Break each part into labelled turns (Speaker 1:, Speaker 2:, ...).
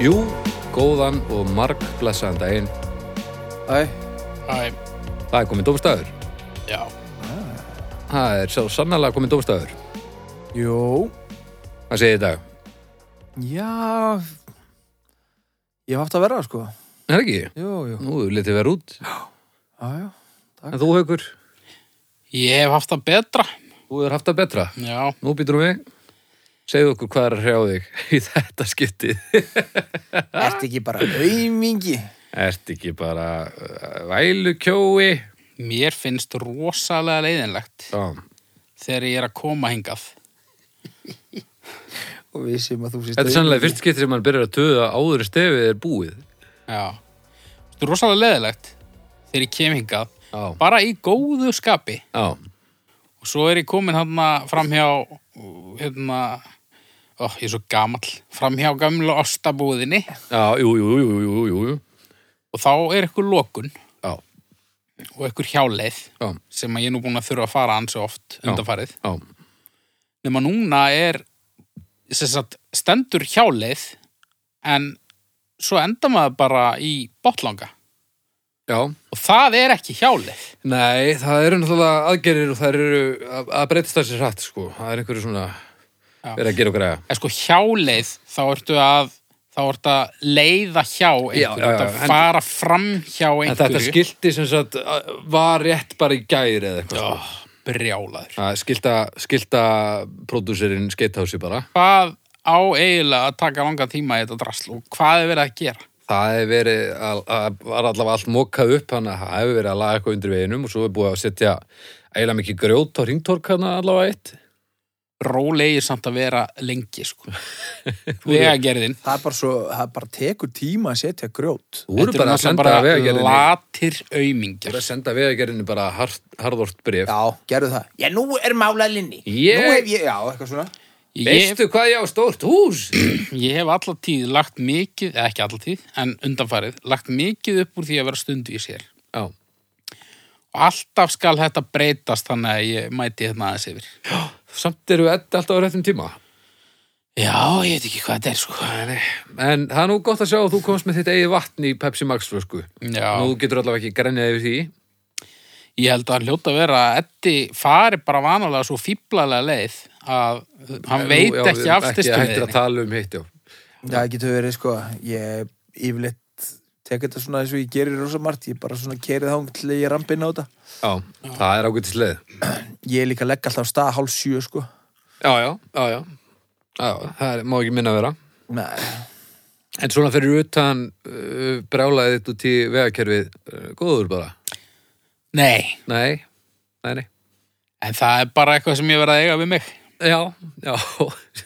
Speaker 1: Jú, góðan og marg blessaðan daginn.
Speaker 2: Æ,
Speaker 3: Æ,
Speaker 1: Það er komin dómstæður.
Speaker 3: já,
Speaker 1: Það er svo sannlega komin dómstæður.
Speaker 2: jú,
Speaker 1: Hvað segir þið í dag?
Speaker 2: já, ég hef haft að vera sko,
Speaker 1: Er ekki?
Speaker 2: jú, jú,
Speaker 1: Nú, þú letið vera út.
Speaker 2: já, já,
Speaker 1: En þú, Haukur,
Speaker 3: ég hef haft það betra.
Speaker 1: þú er haft það betra.
Speaker 3: Já,
Speaker 1: Nú býtur við. Segðu okkur hvað er að hrjá þig í þetta skiptið.
Speaker 2: ertu ekki bara aumingi?
Speaker 1: Ert ekki bara uh, vælukjói?
Speaker 3: mér finnst rosalega leiðinlegt
Speaker 1: Já,
Speaker 3: þegar ég er að koma hingað.
Speaker 2: Og við sem að þú sést
Speaker 1: þetta er sannlega fyrst skiptið sem mann byrjar að töða áður en stefið er búið.
Speaker 3: Já, Þetta er rosalega leiðinlegt þegar ég kem hingað,
Speaker 1: Já,
Speaker 3: bara í góðu skapi.
Speaker 1: já,
Speaker 3: Og svo er ég komin hann framhjá, uh, hérna, ó, ég er svo gamall, framhjá gamla ostabúðinni
Speaker 1: já, jú, jú, jú, jú, jú, jú, jú,
Speaker 3: og þá er ykkur lokun
Speaker 1: já,
Speaker 3: og ykkur hjáleið
Speaker 1: já,
Speaker 3: sem að ég er nú búin að þurfa að fara ansi oft
Speaker 1: Já.
Speaker 3: undanfarið.
Speaker 1: já,
Speaker 3: nema núna er sem sagt, stendur hjáleið en svo enda maður bara í botlanga
Speaker 1: já.
Speaker 3: og það er ekki hjáleið
Speaker 1: Nei, það eru náttúrulega aðgerir og það eru að, að breytast þessi hratt, sko. Það er einhverju svona
Speaker 3: Já.
Speaker 1: verið að gera og græða.
Speaker 3: en sko hjáleið þá ertu að þá ertu að leiða hjá
Speaker 1: Já,
Speaker 3: einhverju,
Speaker 1: já, já,
Speaker 3: ertu að
Speaker 1: en-
Speaker 3: fara fram hjá
Speaker 1: En þetta
Speaker 3: einhverju
Speaker 1: skilti sem sagt að- var rétt bara í gæri eða eitthvað. sko.
Speaker 3: oh, brjálaður
Speaker 1: Það skilta, skilta pródúserinn skeittási bara.
Speaker 3: hvað á eiginlega að taka langa tíma í þetta drasl og hvað er verið að gera
Speaker 1: Það hefur verið, að, að, var allavega allt mokað upp, þannig að það hefur verið að laga eitthvað undir veginum og svo er búið að setja eiginlega mikið grjót á ringtork hana allavega eitt.
Speaker 3: rólegir samt að vera lengi sko. vegagerðin
Speaker 2: Það er bara svo, það bara tekur tíma að setja grjót.
Speaker 1: Þú eru
Speaker 3: Þetta
Speaker 1: bara að
Speaker 3: náttúrulega
Speaker 1: senda vegagerðinni,
Speaker 3: latir
Speaker 1: þú
Speaker 3: aumingjar
Speaker 1: eru að senda vegagerðinni bara hart, harðort bref.
Speaker 2: Já, gerðu það. Já, nú er málað linni.
Speaker 1: Ég-
Speaker 2: Nú hef ég, já, eitthvað svona.
Speaker 3: Ég-
Speaker 1: Veistu hvað ég á stórt hús?
Speaker 3: Ég hef alltaf tíð lagt mikið, eða ekki alltaf tíð, en undanfarið, lagt mikið upp úr því að vera stundu í sér.
Speaker 1: Já.
Speaker 3: Og alltaf skal þetta breytast þannig að ég mæti hérna aðeins yfir.
Speaker 1: Samt eru við alltaf á réttum tíma.
Speaker 3: Já, ég veit ekki hvað þetta er, sko.
Speaker 1: Nei, En það er nú gott að sjá að þú komst með þitt eigið vatn í Pepsi Max flösku.
Speaker 3: Já,
Speaker 1: Nú getur allavega ekki grænjað yfir því.
Speaker 3: ég held að hann hljóta að vera að Eddi fari bara vanalega svo fíblalega leið að hann
Speaker 1: Nú,
Speaker 3: veit
Speaker 1: já,
Speaker 3: ekki
Speaker 1: Ekki
Speaker 3: aftistu
Speaker 1: hættir að
Speaker 3: leiðinni.
Speaker 1: tala um hitt, já.
Speaker 2: Það getur verið, sko, ég yfirleitt tek þetta svona eins og ég gerir rosa margt, ég bara svona kerið þá til ég rampinn á þetta.
Speaker 1: Já, það er ágætið sleið.
Speaker 2: Ég líka legg alltaf af stað hálf sjö, sko.
Speaker 1: Já, já, já, já. Já, það er, má ekki minna vera.
Speaker 2: Nei,
Speaker 1: En svona fyrir utan uh, brjálaðið þitt út í vegakerfið, uh, góður bara.
Speaker 3: Nei,
Speaker 1: Nei, nei, nei.
Speaker 3: en það er bara eitthvað sem ég verið að eiga við mig.
Speaker 1: Já, já,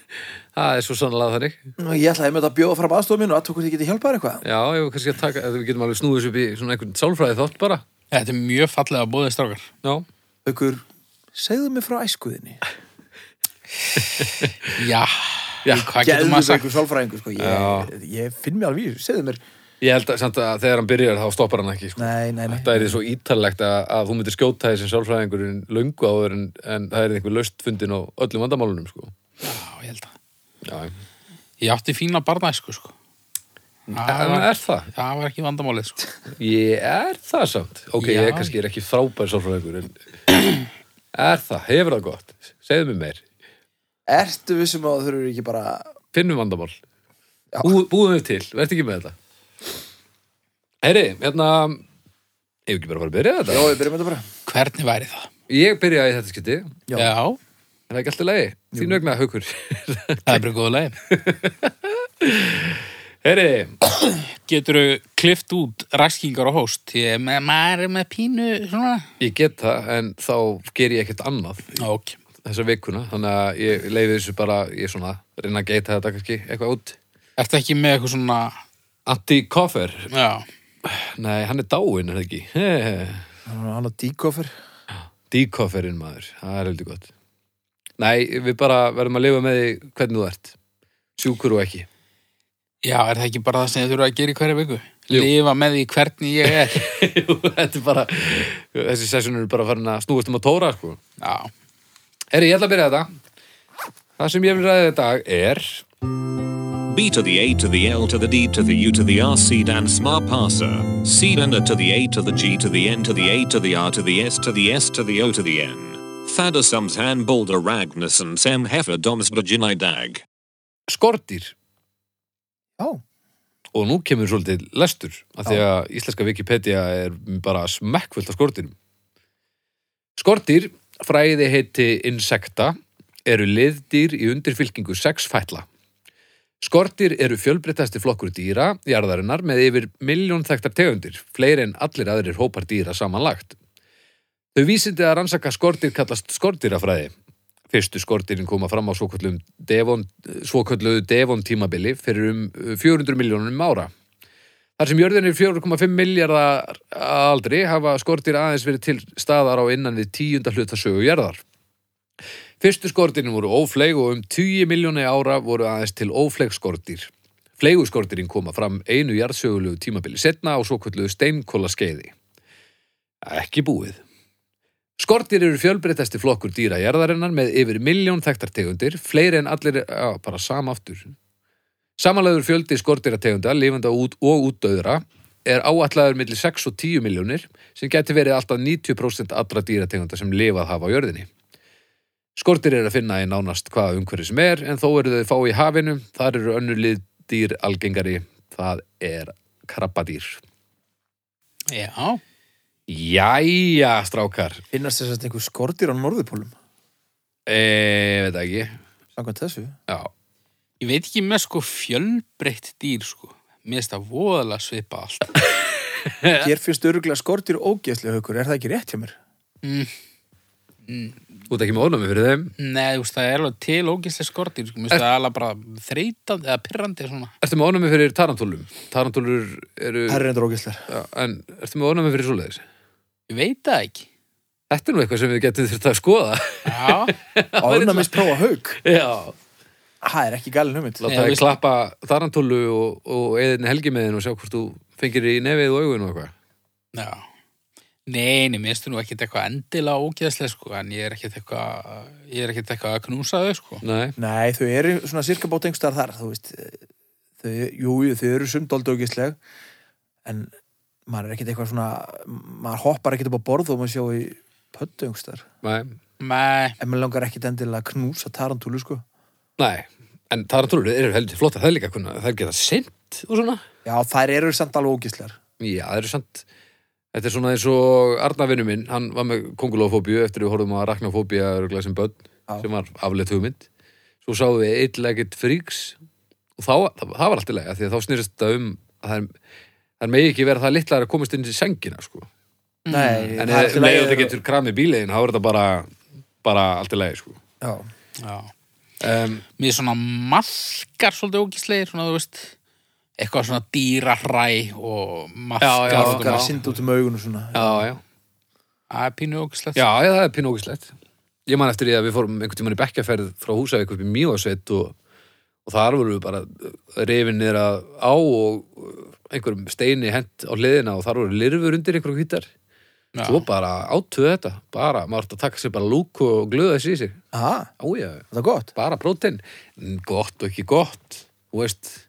Speaker 1: það er svo sannlega þannig.
Speaker 2: Nú, ég ætlaði með þetta að bjóða fram aðstofum minn og aðtökur þið getið hjálpað þér eitthvað.
Speaker 1: Já, ég var kannski að taka, við getum alveg snúðis upp í svona einhvern sálfræði þátt bara.
Speaker 3: Þetta er mjög fallega að bóðið strákar.
Speaker 1: Já,
Speaker 2: Ökur, segðu mig frá æskuðinni.
Speaker 3: Já,
Speaker 1: Já,
Speaker 3: hvað getur
Speaker 2: Gæðu mig
Speaker 3: maður sagt?
Speaker 2: ykkur sálfræðingur, sko. Ég, ég finn mér alveg í þessu, segðu mér.
Speaker 1: Ég held að, samt að þegar hann byrjar þá stoppar hann ekki sko.
Speaker 2: Nei, nei, nei.
Speaker 1: Þetta er svo ítalegt að, að þú myndir skjóta þessi sjálfræðingurinn löngu áður en, en það er einhver löst fundin á öllum vandamálunum sko.
Speaker 3: Já, ég held að.
Speaker 1: Já,
Speaker 3: Ég átti fína barnæsku, sko. Það
Speaker 1: en
Speaker 3: var-
Speaker 1: er það?
Speaker 3: Það var ekki vandamálið, sko.
Speaker 1: Ég er það samt Ok, ég
Speaker 3: Já.
Speaker 1: er kannski er ekki frábær sjálfræðingur en er það, hefur það gott Segðu mér meir,
Speaker 2: Ertu vissum að þú eru ekki bara...
Speaker 1: finnum vandamál Bú, Búum við til, verð ekki með þetta Heyri, hérna Ég hef ekki bara að fara að byrja
Speaker 2: Já,
Speaker 1: þetta
Speaker 2: við byrjum þetta bara.
Speaker 3: Hvernig væri það?
Speaker 1: Ég byrjaði í þetta skytti,
Speaker 2: Já.
Speaker 1: er það ekki alltaf leiði Þín vegna, haukur
Speaker 3: það er bara góða leið.
Speaker 1: Heyri,
Speaker 3: Getur þú klift út ræskingar og hóst? Ég, er með, maður er með pínu, svona.
Speaker 1: Ég get það, en þá ger ég ekkert annað
Speaker 3: Ok.
Speaker 1: þessa vikuna, þannig að ég leiði þessu bara, ég svona, reyna að geita þetta kannski eitthvað út.
Speaker 3: Ertu ekki með eitthvað svona,
Speaker 1: Antti Koffer,
Speaker 3: já,
Speaker 1: nei, hann er dáinn, er það ekki?
Speaker 2: Hann er- Hann á díkoffer.
Speaker 1: Díkofferinn maður, það er heldur gott. Nei, við bara verðum að lifa með því hvernig þú ert, sjúkur og ekki.
Speaker 3: já, er það ekki bara það sem þú eru að gera í hverja viku?
Speaker 1: Jú.
Speaker 3: Lifa með því hvernig ég er.
Speaker 1: þetta er bara, þessi sessunur er bara farin að snúast um að tóra, sko.
Speaker 3: já,
Speaker 1: Herri, ég ætla að byrja þetta. Það sem ég vil ræða þetta dag er
Speaker 4: B to the A to the L to the D to the U to the R C dan sma pasa. C dan A to the A to the G to the N to the A to the R to the S to the S to the O to the N. Thadder sums han bolder Ragnarsson sem heffer doms dag.
Speaker 1: Skordýr.
Speaker 2: Já,
Speaker 1: Og nú kemur svolítið lestur, af því
Speaker 2: Já.
Speaker 1: að íslenska Wikipedia er bara smekkfullt af skordýrum. Skordýr, fræði heiti insekta, eru liðdýr í undirfylkingu sex fætla. Skordýr eru fjölbreyttasti flokkur dýra, jarðarinnar, með yfir miljón þekktar tegundir, fleiri en allir aðrir hópar dýra samanlagt. Þau vísindi að rannsaka skordýr kallast skordýrafræði. Fyrstu skordýrin koma fram á svokölluðu Devon, svokölluðu Devon tímabili fyrir um eh, 400 miljónum ára. Þar sem jörðin er 4,5 miljardar að aldri hafa skordýr aðeins verið til staðar á innan við tíunda hluta sögu jörðar. Fyrstu skordýrin voru ófleig og um 10 miljóni ára voru aðeins til ófleig skordýr. Fleiguskordirinn koma fram einu jarðsögulegu tímabili setna á svokölluðu steinkóla skeiði. Ekki búið. Skortir eru fjölbreyttasti flokkur dýra jarðarinnar með yfir miljón þekktartegundir, fleiri en allir, já, bara sama aftur. Samanlegur fjöldi skortirategunda, lifenda út og útdauðra, er áallæður milli 6 og 10 miljónir sem geti verið alltaf 90% allra dýrategunda sem lifað hafa á jörðinni. Skortir er að finna í nánast hvaða umhverju sem er, en þó eru þau fá í hafinu, þar eru önnur liðdýr algengari, það er krabbadýr.
Speaker 3: Já,
Speaker 1: Jæja, strákar,
Speaker 2: finnast þess að einhver skortir á norðupólum
Speaker 1: e, veit það ekki,
Speaker 2: samkvæmt þessu
Speaker 1: já.
Speaker 3: ég veit ekki með sko fjölbreytt dýr sko. Mér finnst það voðalega svipa allt.
Speaker 2: Hér finnst öruglega skortir ógeðslega haukur, er það ekki rétt hjá mér?
Speaker 1: Þú ert ekki með ónæmi fyrir þeim.
Speaker 3: Nei, þú veist, það er alveg til ógæslega skordýr, sko. Mér finnst það alveg bara þreytandi eða pirrandi svona.
Speaker 1: Ertu með ónæmi fyrir tarantúlum? Tarantúlur eru...
Speaker 2: Það er reyndur ógeðslega
Speaker 1: Já, en ertu með ónæmi fyrir svoleiðis?
Speaker 3: Ég veit það ekki.
Speaker 1: Þetta er nú eitthvað sem við getum þurft að skoða.
Speaker 3: Já,
Speaker 2: Ánæmis prófa hauk
Speaker 1: Já.
Speaker 2: Það er ekki galin hugmynd
Speaker 1: Láta
Speaker 3: Já,
Speaker 1: það
Speaker 3: veist-
Speaker 1: klappa tarantúlu og, og eðinni helgi með henn og sjá hvort þú fengir í nefið og augun og eitthvað.
Speaker 3: já. Nei, nei, mér finnst það nú ekkert eitthvað endilega ógæslega, sko, en ég er ekkert eitthvað, ég er ekkert eitthvað að knúsa þau, sko.
Speaker 1: Nei.
Speaker 2: Nei, þau eru svona sirka bótt einhverstaðar þar, þú veist þau, Jú, jú, þau eru sumdóldi ógeðslega en maður er ekkert eitthvað svona maður hoppar ekkert upp á borð og maður sjá í pöttu einhverstaðar
Speaker 1: Nei.
Speaker 3: Nei,
Speaker 2: en maður langar ekkert endilega að knúsa tarantúlu sko
Speaker 1: Nei. En tarantúlur eru heldur flottar. Það er líka kunna, það er geta sint og svona.
Speaker 2: Já, þær eru samt alveg ógeðslegar
Speaker 1: Já, það eru sant. Þetta er svona eins og Arnavinnu minn, hann var með kongulófóbíu eftir við horfum á Raknafóbía örgulega sem börn,
Speaker 2: Já.
Speaker 1: sem var afleitt hugmynd. Svo sáum við eitlegget fríks og þá, það, það var allt í lagi, af því að þá snýrist þetta um að það er, það er megi ekki vera það litlar að komast inn í sengina, sko.
Speaker 2: Mm. Nei,
Speaker 1: En
Speaker 2: það er
Speaker 1: ef
Speaker 2: til
Speaker 1: leiður þetta
Speaker 2: lagi-
Speaker 1: getur kramið bílegin, þá er þetta bara, bara allt í lagi, sko.
Speaker 2: Já,
Speaker 3: já.
Speaker 1: Um,
Speaker 3: mér svona maðkar svolítið ógíslegir, svona þú veist eitthvað svona dýrahræ og
Speaker 1: Já,
Speaker 2: það
Speaker 3: maðkar
Speaker 2: er
Speaker 1: já.
Speaker 2: sind út um augun og svona
Speaker 1: já, já.
Speaker 3: það er pínu ógíslegt
Speaker 1: Já, já, það er pínókislegt. Ég man eftir því að við fórum einhvern tímann í bekkjaferð frá Húsavík upp í Mývasveit og, og þar vorum við bara reyfin niður að á og uh, einhverjum steini hent á hliðina og þar voru lirfur undir einhverjum hvítar.
Speaker 3: Já.
Speaker 1: Svo bara átuðu þetta, bara, maður átt að taka sér bara lúku og glöða þessi í sig.
Speaker 2: Aha,
Speaker 1: Ája,
Speaker 2: það er gott
Speaker 1: bara prótein. Mm, Gott og ekki gott, þú veist. Það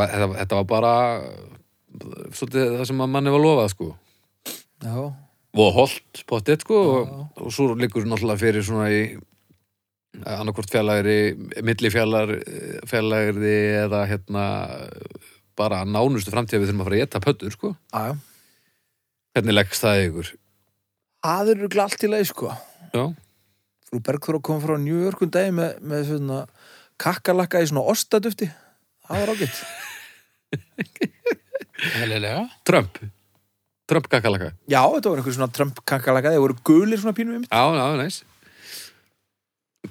Speaker 1: Var, þetta, þetta var bara uh, svolítið það sem að manni var lofað, sko
Speaker 2: Já,
Speaker 1: voða holt pottet sko og, og svo liggur náttúrulega fyrir svona í eh, annarkvort fjallæri milli fjallæri eða hérna bara nánustu framtíð að við þurfum að fara að geta pöttur sko
Speaker 2: já, já
Speaker 1: hvernig leggst það í ykkur
Speaker 2: Það eru glalt í leið sko
Speaker 1: já,
Speaker 2: frú Bergþóra kom frá New York um dagi með, með svona kakkalakka í svona ostadufti það var ágætt
Speaker 3: helilega
Speaker 1: Trump Trump kakalaka
Speaker 2: já, þetta var einhver svona Trump kakkalakka þeir voru gulir svona pínum
Speaker 1: já, já, næs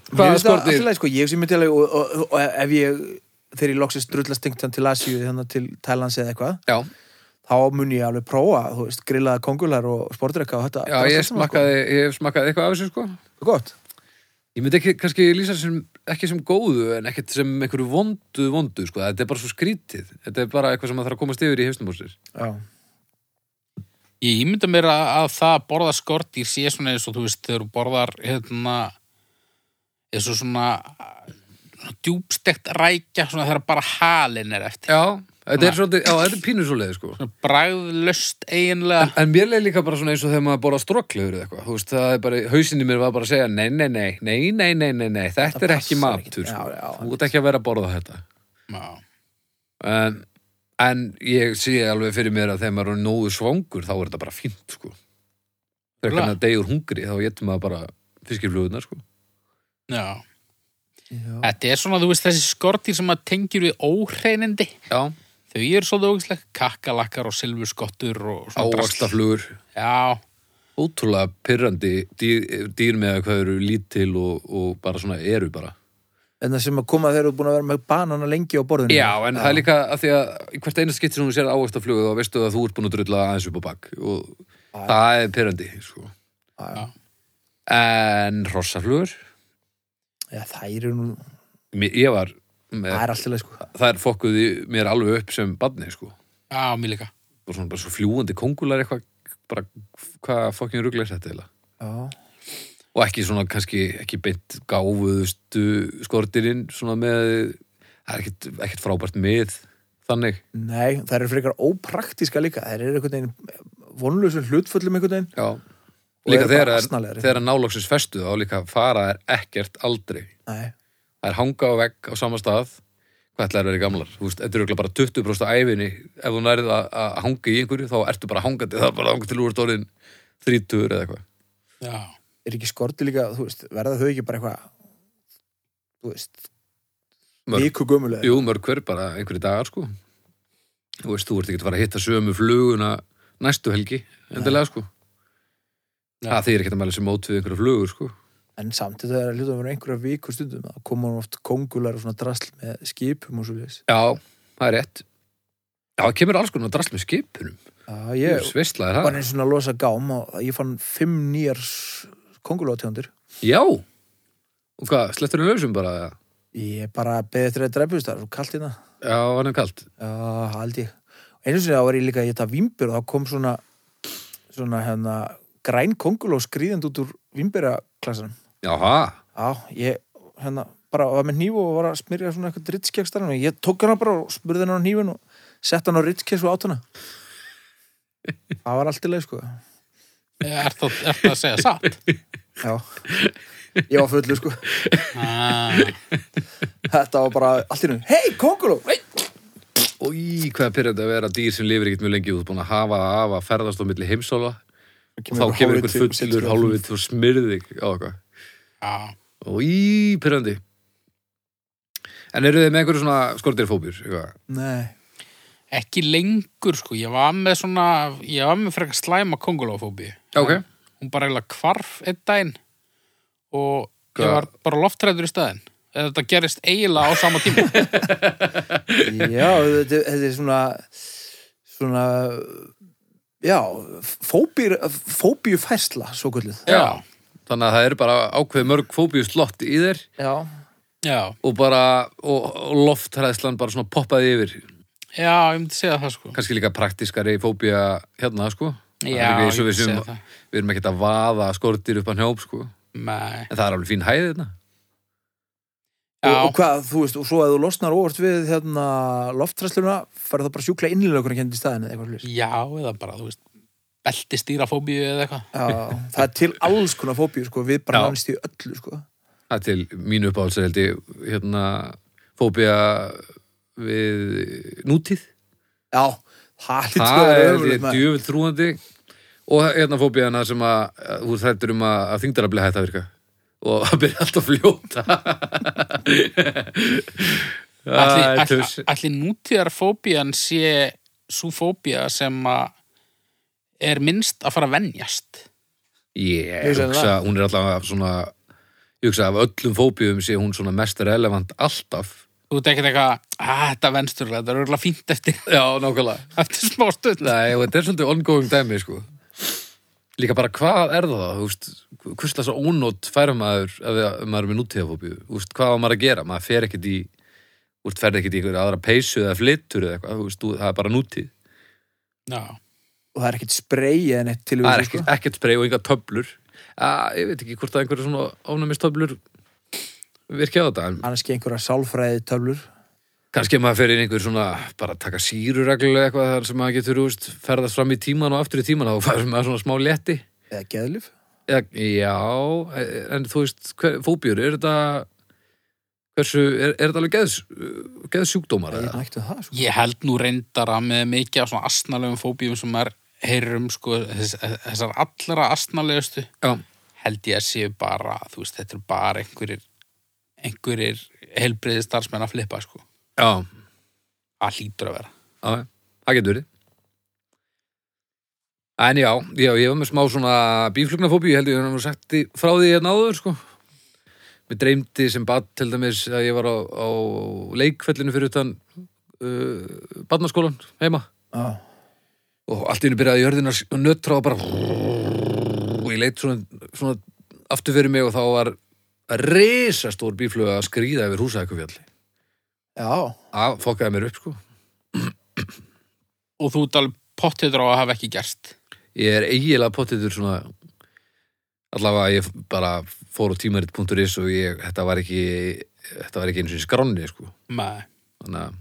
Speaker 2: Mér
Speaker 1: hvaða
Speaker 2: finnst það allt í
Speaker 1: skortir
Speaker 2: lagi, sko, ég sem myndi alveg og, og, og, ef ég, þegar ég loksist drullastinktan til Asíu, þannig til Thailands eða eitthvað
Speaker 1: já,
Speaker 2: þá muni ég alveg prófa, þú veist, grillaða kongular og sportrekka og þetta
Speaker 1: já,
Speaker 2: þetta er
Speaker 1: ég
Speaker 2: allt saman,
Speaker 1: smakkaði ég smakkaði eitthvað af þessu sko
Speaker 2: sko. gott,
Speaker 1: ég myndi ekki, kannski lýsa sem ekki sem góðu en ekkert sem einhverju vondu vondu sko, þetta er bara svo skrítið þetta er bara eitthvað sem maður þarf að komast yfir í hefstum húsir
Speaker 2: já,
Speaker 3: ég ímynda mér að, að það að borða skordýr sé svona eins og þú veist þegar þú borðar hérna eins og svona djúbstekt rækja svona þegar bara halin er eftir
Speaker 1: Já, þetta er svolítið, já, þetta er pínu svolítið, sko.
Speaker 3: Svona bragðlöst eiginlega
Speaker 1: En mér leið líka bara svona eins og þegar maður borða stróklegur eða eitthvað, þú veist, það er bara, hausinni mér var bara að segja, nei, nei, nei, nei, nei, nei, nei, nei, þetta
Speaker 2: Það
Speaker 1: er ekki
Speaker 2: passar
Speaker 1: matur,
Speaker 2: ekki.
Speaker 1: sko.
Speaker 2: Já, já,
Speaker 1: Þú ert ekki að vera að borða þetta.
Speaker 3: Já.
Speaker 1: En, en ég sé alveg fyrir mér að þegar maður er nógu svangur, þá er þetta bara fínt, sko. Þegar
Speaker 3: Nefnilega.
Speaker 1: kannan degur hungri, þá getur maður bara fiskirflugunar, sko.
Speaker 3: Já.
Speaker 2: Já.
Speaker 3: Þetta er svona, þú veist, þessi skortir sem að tengjur við óhreinindi
Speaker 1: Já.
Speaker 3: þau eru svolítið ógislega kakkalakkar og silfurskottur og svona drasl.
Speaker 1: Ávaxtaflugur.
Speaker 3: Já,
Speaker 1: Ótrúlega pyrrandi dýr, dýr með að hvað eru lítil og, og bara svona eru bara.
Speaker 2: En það Hérna sem að koma þegar þú ert búin að vera með banana lengi á borðinu
Speaker 1: Já, en það er líka að því að í hvert einu skitt sem hún sér ávægtaflugu þá veistu að þú ert búin að drulla aðeins upp á bakk og það er pyrrandi, sko.
Speaker 2: Já,
Speaker 1: En hrossaflugur,
Speaker 2: já, þær eru nú,
Speaker 1: mér- ég var,
Speaker 2: það
Speaker 1: með,
Speaker 2: er alltaf leið sko
Speaker 1: þær fokkuði mér alveg upp sem badni, sko.
Speaker 3: já, mér líka
Speaker 1: Og svona bara svo fljúandi kongular eitthvað, bara hvað fokkin ruggla er þetta eiginlega.
Speaker 2: Já,
Speaker 1: Og ekki svona kannski, ekki beint gáfuðustu skortirinn svona með, það er ekkit, ekkit frábært með þannig.
Speaker 2: nei, þær eru frekar ópraktíska líka Þær eru einhvern veginn vonlausum hlutfullum einhvern veginn
Speaker 1: Já.
Speaker 2: Og
Speaker 1: Líka
Speaker 2: eru bara
Speaker 1: þegar að-
Speaker 2: asnalegri.
Speaker 1: þegar að nálóksins festu þá líka fara er ekkert aldrei.
Speaker 2: Nei,
Speaker 1: Það er hanga á vegg á sama stað. Hvað ætlaði að vera gamlar? Þú veist, þetta er örugglega bara 20% af æfinni. Ef þú nærið að, að hanga í einhverju þá ertu bara hangandi. Það er bara hangandi til úr dórinn 30 eða eitthvað.
Speaker 3: Já,
Speaker 2: er ekki skorti líka, þú veist, verða þau ekki bara eitthvað Þú veist,
Speaker 1: Mörg,
Speaker 2: viku gömulega
Speaker 1: jú, mörg hver bara einhverju dagar sko. Þú veist, þú ert ekki að fara að hitta sömu fluguna næstu helgi. Endilega sko.
Speaker 3: Já.
Speaker 1: Það þýr ekki að mæla sér mót við einhverju flugur sko.
Speaker 2: En samt þetta er hlutum að vera einhverja viku stundum þá koma hún oft kongular og svona drasl með skipum og svo leis
Speaker 1: Já, það er rétt. Já, það kemur alls konar drast með skipunum.
Speaker 2: Já,
Speaker 1: Ég,
Speaker 2: ég
Speaker 1: Sveistlaði það.
Speaker 2: var eins og svona að losa gám og ég fann fimm nýjar kongulótegundir
Speaker 1: Já Og hvað, slettur hann lausum bara? eða?
Speaker 2: Ég bara beðið eftir að dreifust það, er svo kalt hérna.
Speaker 1: Já, var hann kalt
Speaker 2: Já, hald ég. Einu sinni þá var ég líka að geta vimbir og þá kom svona, svona hérna, græn konguló skrýðand út úr vimbiraklasanum.
Speaker 1: Jáha,
Speaker 2: Já, ég hérna, bara var með hnífu og var að smyrja svona eitthvað ritskjækstarinn og ég tók hana bara og smurði hana á hnífin og sett hana á ritskjæks og át hana. Það var allt í leið, sko.
Speaker 3: er það, er það að segja satt?
Speaker 2: Já, ég var fullu, sko.
Speaker 3: Ah,
Speaker 2: Þetta var bara allt í leið. Hei, konguló! Hei!
Speaker 1: Í hvað er pyrrandi að vera dýr sem lifir ekkert mjög lengi út búin að hafa það af að ferðast á milli heimsóla og þá kemur einhver fullur hálfvitt og smyrði þig á eitthvað
Speaker 3: já,
Speaker 1: og í pyrrandi En eru þið með einhverju svona skortirfóbjur? eitthvað?
Speaker 2: Nei,
Speaker 3: ekki lengur sko, ég var með svona ég var með frekar slæma kongulófóbi
Speaker 1: Já, ok.
Speaker 3: Hún bara eiginlega hvarf einn daginn og
Speaker 1: Hvað?
Speaker 3: ég var bara loftræður í staðinn eða þetta gerist eiginlega á sama tíma
Speaker 2: Já, þetta, þetta er svona svona já, fóbíur fóbíu færsla, svo kvöldið
Speaker 3: Já,
Speaker 1: Þannig að það eru bara ákveð mörg fóbjustlott í þeir
Speaker 2: Já,
Speaker 3: já,
Speaker 1: og bara og, og loftræðslan bara svona poppaði yfir
Speaker 3: já, ég myndi segja það sko
Speaker 1: kannski líka praktiskari fóbía hérna, sko. Það
Speaker 3: Já,
Speaker 1: er ekki eins og
Speaker 3: ég
Speaker 1: við,
Speaker 3: segi
Speaker 1: sem,
Speaker 3: það.
Speaker 1: við erum ekkert að vaða skortir upp á njóp, sko.
Speaker 3: Nei,
Speaker 1: En það er alveg fín hæð hérna. þetta.
Speaker 3: já,
Speaker 2: og, og hvað, þú veist, og svo að þú losnar óvart við hérna loftræsluna, farið það bara að sjúkla innlökunarkennd í staðinu eða eitthvað slúðis
Speaker 3: já, eða bara, þú veist beltistýrafóbíu eða eitthvað
Speaker 2: Já, það er til alls konar fóbíu, sko, við bara
Speaker 1: Já.
Speaker 2: nánst í öllu, sko
Speaker 1: Það er til mínu uppáhalds er held ég, hérna, fóbía við nútíð.
Speaker 2: Já, það hlýtur að
Speaker 1: Það
Speaker 2: vera
Speaker 1: er held
Speaker 2: ömurlegt,
Speaker 1: ég
Speaker 2: maður.
Speaker 1: djöfull þrúandi og hérna fóbía hana sem að að þú þrættur um að, að þingdarafli hætt að virka og að byrja allt að fljóta. Æ,
Speaker 3: Ætli,
Speaker 1: tuss.
Speaker 3: ætli, ætli nútíðarfóbían sé svo fóbía sem að er minnst að fara að venjast
Speaker 1: Ég
Speaker 2: Hugsaðu
Speaker 1: hugsa, hún er allavega svona ég hugsa af öllum fóbíum sé hún svona mest relevant alltaf
Speaker 3: Þú veit ekkert eitthvað, að þetta vensturlega, þetta er örgulega fínt eftir,
Speaker 1: Já, nákvæmlega
Speaker 3: eftir smá stund.
Speaker 1: Nei, og þetta er svolítið ongoing dæmi, sko Líka bara hvað er það, þú veist hvers þess að ónót færa maður ef við- ef maður er með nútíðafóbíu, þú veist, hvað á maður að gera maður fer ekkit í, þú veist, ferð ekkit í einhverja aðra peysu eða flyttur eða eitthvað, þú veist, þú- það er bara nútíð
Speaker 3: Já,
Speaker 2: og það er ekkert sprey eða neitt til
Speaker 1: Það er
Speaker 2: við, sko
Speaker 1: ekkert, ekkert sprey og enga töflur að, Ég veit ekki hvort það er einhverja svona ónæmistöflur virkja á þetta en
Speaker 2: annars ekki einhverja sálfræði töflur
Speaker 1: kannski ef maður fer inn einhver svona bara taka síru reglulega eitthvað þar sem maður getur úst, ferðast fram í tíman og aftur í tíman og fær maður svona smá letti
Speaker 2: eða geðlif
Speaker 1: Eða, já, e, en þú veist hver- fóbíur, er þetta hversu, er, er þetta alveg geðs, geðsjúkdómar
Speaker 2: ég
Speaker 1: eða?
Speaker 2: nættu það sko.
Speaker 3: Ég held nú reyndar að með mikið af svona astnalegum fóbíum sem maður heyrir um sko, þess, þessar allra astnalegustu
Speaker 1: Já,
Speaker 3: held ég að séu bara, þú veist, þetta er bara einhverjir einhverjir helbriði starfsmenn að flippa sko.
Speaker 1: já,
Speaker 3: að hlýtur að vera
Speaker 1: já, já, það getur verið En já, já, ég var með smá svona bíflugnafóbíu, ég held ég hann sagt í- frá því hérna áður, sko Mér dreymdi sem bad til dæmis að ég var á, á leikfellinu fyrir utan uh, badnaskólan heima
Speaker 2: Já.
Speaker 1: og allt í henni byrjaði jörðin að nötra og bara og ég leitt svona, svona aftur fyrir mig og þá var risastór bífluga að skríða yfir húsækufjalli
Speaker 2: já,
Speaker 1: að fokkaði mér upp sko
Speaker 3: og þú ert alveg pottitur á að hafa ekki gerst
Speaker 1: ég er eiginlega pottitur svona allavega ég bara fór á tímarit.is og ég, þetta var ekki þetta var ekki eins og skránni sko
Speaker 3: með
Speaker 1: þannig að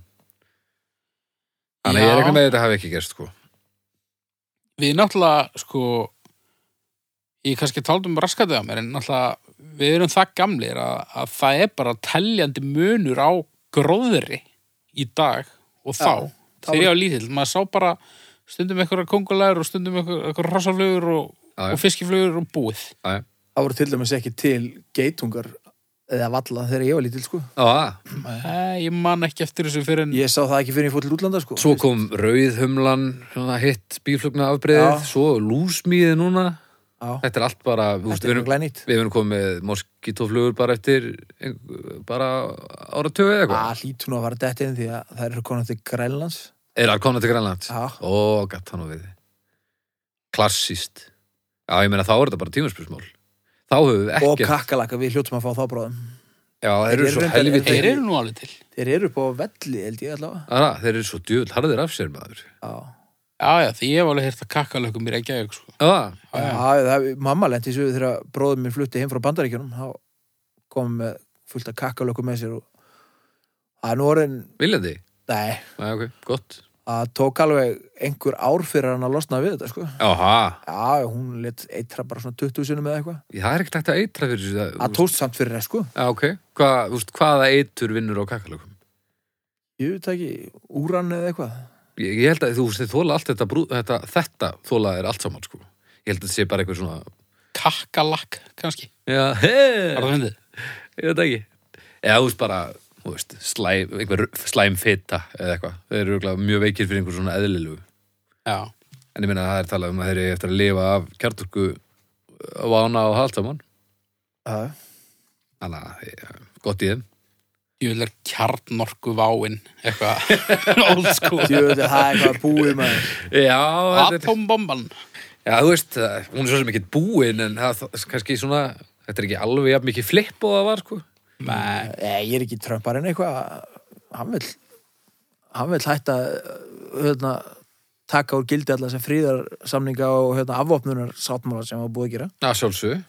Speaker 1: Þannig að ég er
Speaker 3: Já.
Speaker 1: eitthvað með að þetta hafi ekki gerst sko
Speaker 3: við náttúrulega sko ég kannski taldi um raskatið á mér en náttúrulega við erum það gamlir að, að það er bara teljandi munur á gróðri í dag og þá,
Speaker 2: Já, þá
Speaker 3: þegar
Speaker 2: er-
Speaker 3: ég var lítill maður sá bara stundum einhverja kongulegur og stundum einhverja rossaflugur og,
Speaker 1: Já, já.
Speaker 3: og fiskiflugur og búið
Speaker 1: Já, já.
Speaker 2: það voru til dæmis ekki til geitungar eða valla þegar ég var lítil sko.
Speaker 1: Já,
Speaker 3: Æ, ég man ekki eftir þessu fyrir en
Speaker 2: ég sá það ekki fyrir ég fór til útlanda sko.
Speaker 1: svo kom rauðhumlan, svona hitt bíflugna afbreiðið,
Speaker 2: Já.
Speaker 1: svo lúsmíði núna
Speaker 2: já,
Speaker 1: Þetta er allt bara, þú veist,
Speaker 2: þetta
Speaker 1: við
Speaker 2: er
Speaker 1: erum,
Speaker 2: glænýtt
Speaker 1: við erum komið með moskítoflugur bara eftir ein- bara áratögu eða eitthvað.
Speaker 2: að hlýtu Ah, nú að fara dætt inn því að það eru konar til Grænlands Ah.
Speaker 1: Er það komið til Grænland?
Speaker 2: já,
Speaker 1: Ó, gatt hann og við. Klassíst. Já, ég meina þá er þetta bara tímaspjörsmál. Þá höfum við
Speaker 2: og
Speaker 1: ekki...
Speaker 2: kakkalaka við hljótum að fá þá bráðum
Speaker 1: Já, þeir eru
Speaker 2: Þeir
Speaker 1: svo
Speaker 2: eru reyndar-
Speaker 1: helviti...
Speaker 3: þeir eru nú alveg til
Speaker 2: þeir eru upp á velli held ég allavega
Speaker 1: Ara, þeir eru svo djöfull harðir af sér maður.
Speaker 2: já,
Speaker 3: já, já, því ég hef alveg hýrt að kakkalökum mér ekki að sko.
Speaker 1: Já,
Speaker 3: Já, já.
Speaker 2: já, það, mamma lendi í sögu þegar bróðum minn flutti heim frá bandaríkjunum þá kom með fullt af kakkalöku með sér og það er nú orðin
Speaker 1: viljandi.
Speaker 2: nei,
Speaker 1: Já, ok, gott.
Speaker 2: það tók alveg einhver ár fyrir hann að losna við þetta sko
Speaker 1: Jáha,
Speaker 2: já, hún let eitra bara svona 20 sinum eða eitthvað
Speaker 1: það er ekkert hægt að eitra fyrir þessu. það-
Speaker 2: það tókst samt fyrir það sko
Speaker 1: Já, ok. Hva, þú veist, hvaða eitur vinnur á kakalökum?
Speaker 2: ég veit það ekki, úran eða eitthvað
Speaker 1: Ég, ég held að þú veist, þið þóla allt þetta, brú, þetta, þetta þóla er allt saman, sko. Ég held að þetta sé bara einhver svona,
Speaker 3: kakkalak, kannski
Speaker 1: já, hei,
Speaker 3: var það fyndið?
Speaker 1: ég veit ekki. Eða þú veist bara, þú veist, slæm, einhver slæm fitta eða eitthvað. Þeir eru örugglega mjög veikir fyrir einhver svona eðlilugu.
Speaker 3: já,
Speaker 1: En ég meina að það er talað um að þeir eru eftir að lifa af kjartorku vána og allt saman.
Speaker 2: já,
Speaker 1: Þannig að, eh, gott í þeim.
Speaker 3: ég vil er kjarnorku váin eitthvað old school
Speaker 2: ég veit það er eitthvað búið maður
Speaker 1: Já, þetta er,
Speaker 3: atombomban
Speaker 1: já, þú veist, það- hún er svo sem ekki búin, en það, það- kannski svona, þetta er ekki alveg jafn mikið flipp og það var, sko.
Speaker 3: Nei,
Speaker 2: Nei, ég er ekki trömparinn eitthvað hann vil hann vil hætta uh, hérna, taka úr gildi allar sem fríðarsamninga og hérna, afvopnunar sáttmála sem var búið að gera
Speaker 1: Að sjálfsög,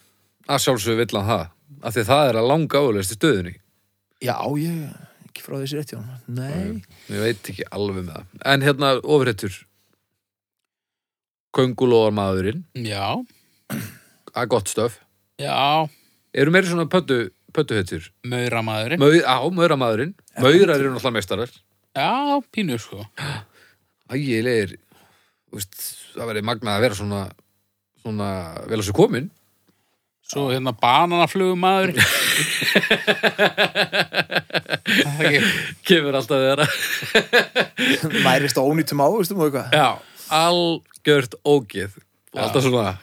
Speaker 1: að sjálfsög vill hann það af því það er að langa álegast í stöðunni
Speaker 2: Já, ég ekki frá þessi rétti hann Nei,
Speaker 1: ég veit ekki alveg með það en hérna ofréttur köngulóarmadurinn
Speaker 3: já,
Speaker 1: að gott stöf,
Speaker 3: já
Speaker 1: eru meiri svona pöttu pöttuhettur,
Speaker 3: mauramaðurinn,
Speaker 1: Möð, á, mauramadurinn maurar eru náttúrulega meistarar
Speaker 3: já, pínu sko
Speaker 1: ægilegir, þú veist það verið magnað að vera svona svona vel að sér komin
Speaker 3: svo hérna bananaflugumaður það er ekki
Speaker 1: kemur alltaf þeirra
Speaker 2: mærist á ónýtum ávistum og eitthvað
Speaker 1: já, algjört ógið og alltaf svona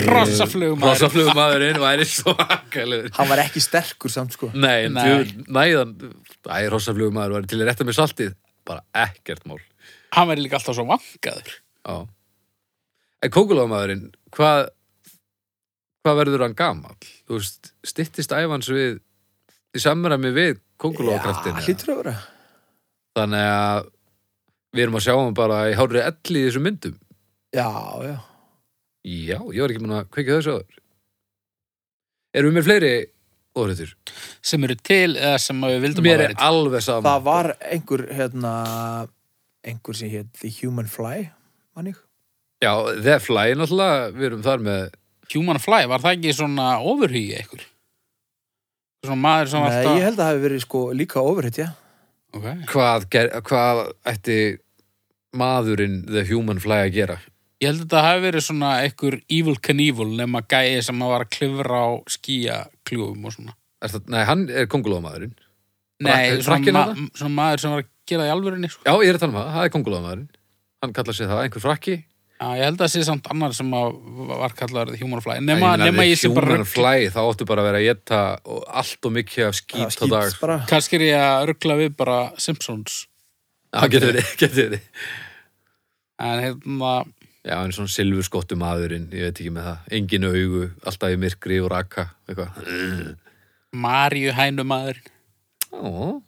Speaker 3: Hrossaflugumaður.
Speaker 1: Hrossaflugumaðurinn væri svakalegur
Speaker 2: Hann var ekki sterkur samt sko
Speaker 1: Nei, en
Speaker 3: Nei.
Speaker 1: djöfull, næðan Æ, hrossaflugumæður var til að rétta mér saltið bara ekkert mál
Speaker 3: hann verður líka alltaf svo vangaður
Speaker 1: Já. En kókulómaðurinn hvað hvað verður hann gamall? Þú veist, styttist æfans við í samræmi við
Speaker 2: Já,
Speaker 1: kókulókraftin
Speaker 2: hlýtur að vera
Speaker 1: þannig að við erum að sjá hann bara í hárið elli í þessum myndum
Speaker 2: Já, já
Speaker 1: Já, ég var ekki mun að kveikja þessu áður Erum við með fleiri og réttur.
Speaker 3: sem eru til eða sem að við vildum
Speaker 1: Mér
Speaker 3: að
Speaker 1: er alveg saman.
Speaker 2: það var einhver hérna, einhver sem hétt The Human Fly mannig
Speaker 1: Já, The Fly náttúrulega, við erum þar með
Speaker 3: Human Fly, var það ekki svona ofurhugi ekkur? Svona maður sem var
Speaker 2: Nei, ég
Speaker 3: alltaf...
Speaker 2: held að það hafi verið sko líka overhitt, já
Speaker 3: Ok.
Speaker 1: hvað, ger, hvað ætti maðurinn The Human Fly að gera.
Speaker 3: Ég held að það hafi verið svona ekkur evil Knievel nema gæi sem að var að klifra á skíakljúfum og svona.
Speaker 1: Er það, nei, hann er kongulómaðurinn.
Speaker 3: Nei,
Speaker 1: Frakk- frakkinn
Speaker 3: svona, ma
Speaker 1: þarna?
Speaker 3: svona maður sem var að gera það í alvörunni. Sko.
Speaker 1: Já, ég er að tala um það, það er kongulómaðurinn. Hann kallar sig það, einhver frakki.
Speaker 3: Já, ég held að það sé samt annar sem að var kallar The Human Fly.
Speaker 1: En
Speaker 3: Nema,
Speaker 1: meina,
Speaker 3: nema
Speaker 1: The
Speaker 3: ég sé bara
Speaker 1: Human
Speaker 3: rugg...
Speaker 1: Fly, þá áttu bara að vera að geta allt og mikið af skýt á dag.
Speaker 2: bara
Speaker 3: Kannski er ég að ruggla við bara Simpsons.
Speaker 1: Já, getur verið, getur verið.
Speaker 3: En hérna,
Speaker 1: Já, en svona silfurskottu maðurinn, ég veit ekki með það. Engin augu, alltaf í myrkri og raka, eitthvað.
Speaker 3: Mm. Maríu hænumaður.
Speaker 1: Ó,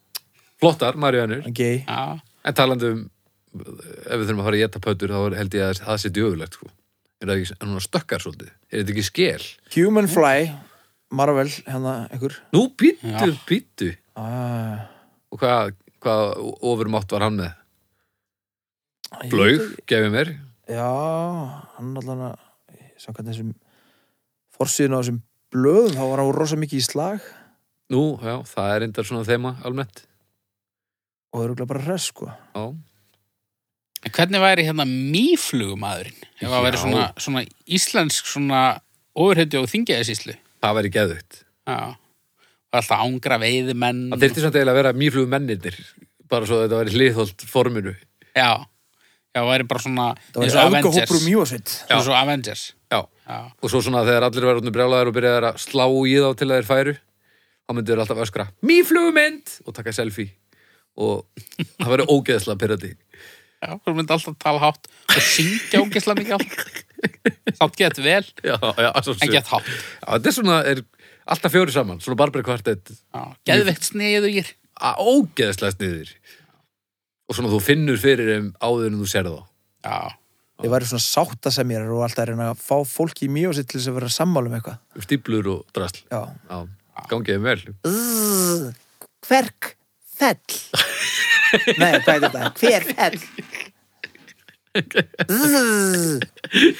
Speaker 1: flottar, Marianur.
Speaker 2: gay
Speaker 3: Já,
Speaker 1: En talandi um, ef við þurfum að fara að geta pötur, þá er- held ég að það sé djöfulegt, sko. Er það ekki, en hún stökkar svolítið. Er þetta ekki skel?
Speaker 2: Human Fly, Marvel, hérna einhver
Speaker 1: Nú, býttu,
Speaker 3: Já.
Speaker 1: býttu.
Speaker 2: ah,
Speaker 1: Og hvað, hvað ofurmátt var hann með?
Speaker 2: ég veit
Speaker 1: Blaug,
Speaker 2: ekki.
Speaker 1: gefið mér.
Speaker 2: Já, hann allan að samkvæmt þessum forsýðin á þessum blöðum, þá var hann rosa mikið í slag
Speaker 1: Nú, já, það er endar svona þema almennt.
Speaker 2: og örugglega bara hress, sko
Speaker 1: Já,
Speaker 3: En Hvernig væri hérna mýflugumadurinn? Ef það væri
Speaker 1: Já.
Speaker 3: svona, svona íslensk svona ofurheiti og þingiðasíslu.
Speaker 1: það væri geðvögt.
Speaker 3: Já. Og alltaf ángra veiðimenn.
Speaker 2: Mm.
Speaker 1: Það þyrfti samt eiginlega að vera mýflugum mennirnir, bara svo að þetta væri hliðholt forminu.
Speaker 3: Já. Já, það væri bara svona
Speaker 2: Það
Speaker 3: eins
Speaker 2: var
Speaker 3: og
Speaker 2: auka
Speaker 3: Avengers.
Speaker 2: hópur um mjósveit
Speaker 3: Já. Eins og Avengers.
Speaker 1: Já,
Speaker 3: Já.
Speaker 1: og svo svona þegar allir verður út brjálæðar og byrjaðar að slá í þá til að þeir færu þá myndir þeir alltaf öskra mýflugumynd og taka selfie og það verður ógeðslega pyrrandi
Speaker 3: Já, þú myndi alltaf tala hátt og syngja ógislega mikið allt. Samt gett vel,
Speaker 1: já, já, svo
Speaker 3: en
Speaker 1: sem.
Speaker 3: gett hátt.
Speaker 1: já, þetta er svona er alltaf fjóri saman, svona barberi kvartett
Speaker 3: Já. Geðveikt sniðugir.
Speaker 1: að ógeðslega sniðir og svona þú finnur fyrir þeim áður en þú sér þá
Speaker 3: Já.
Speaker 2: Ég væri svona sátta sem ég er og alltaf að reyna að fá fólki í mjósveit til þess að vera að sammála um eitthvað
Speaker 1: stíplur og drasl
Speaker 2: Já
Speaker 1: já, gangið þeim vel
Speaker 2: Zzz, Hverk fell Nei, hvað er þetta? Hver fell Zzz,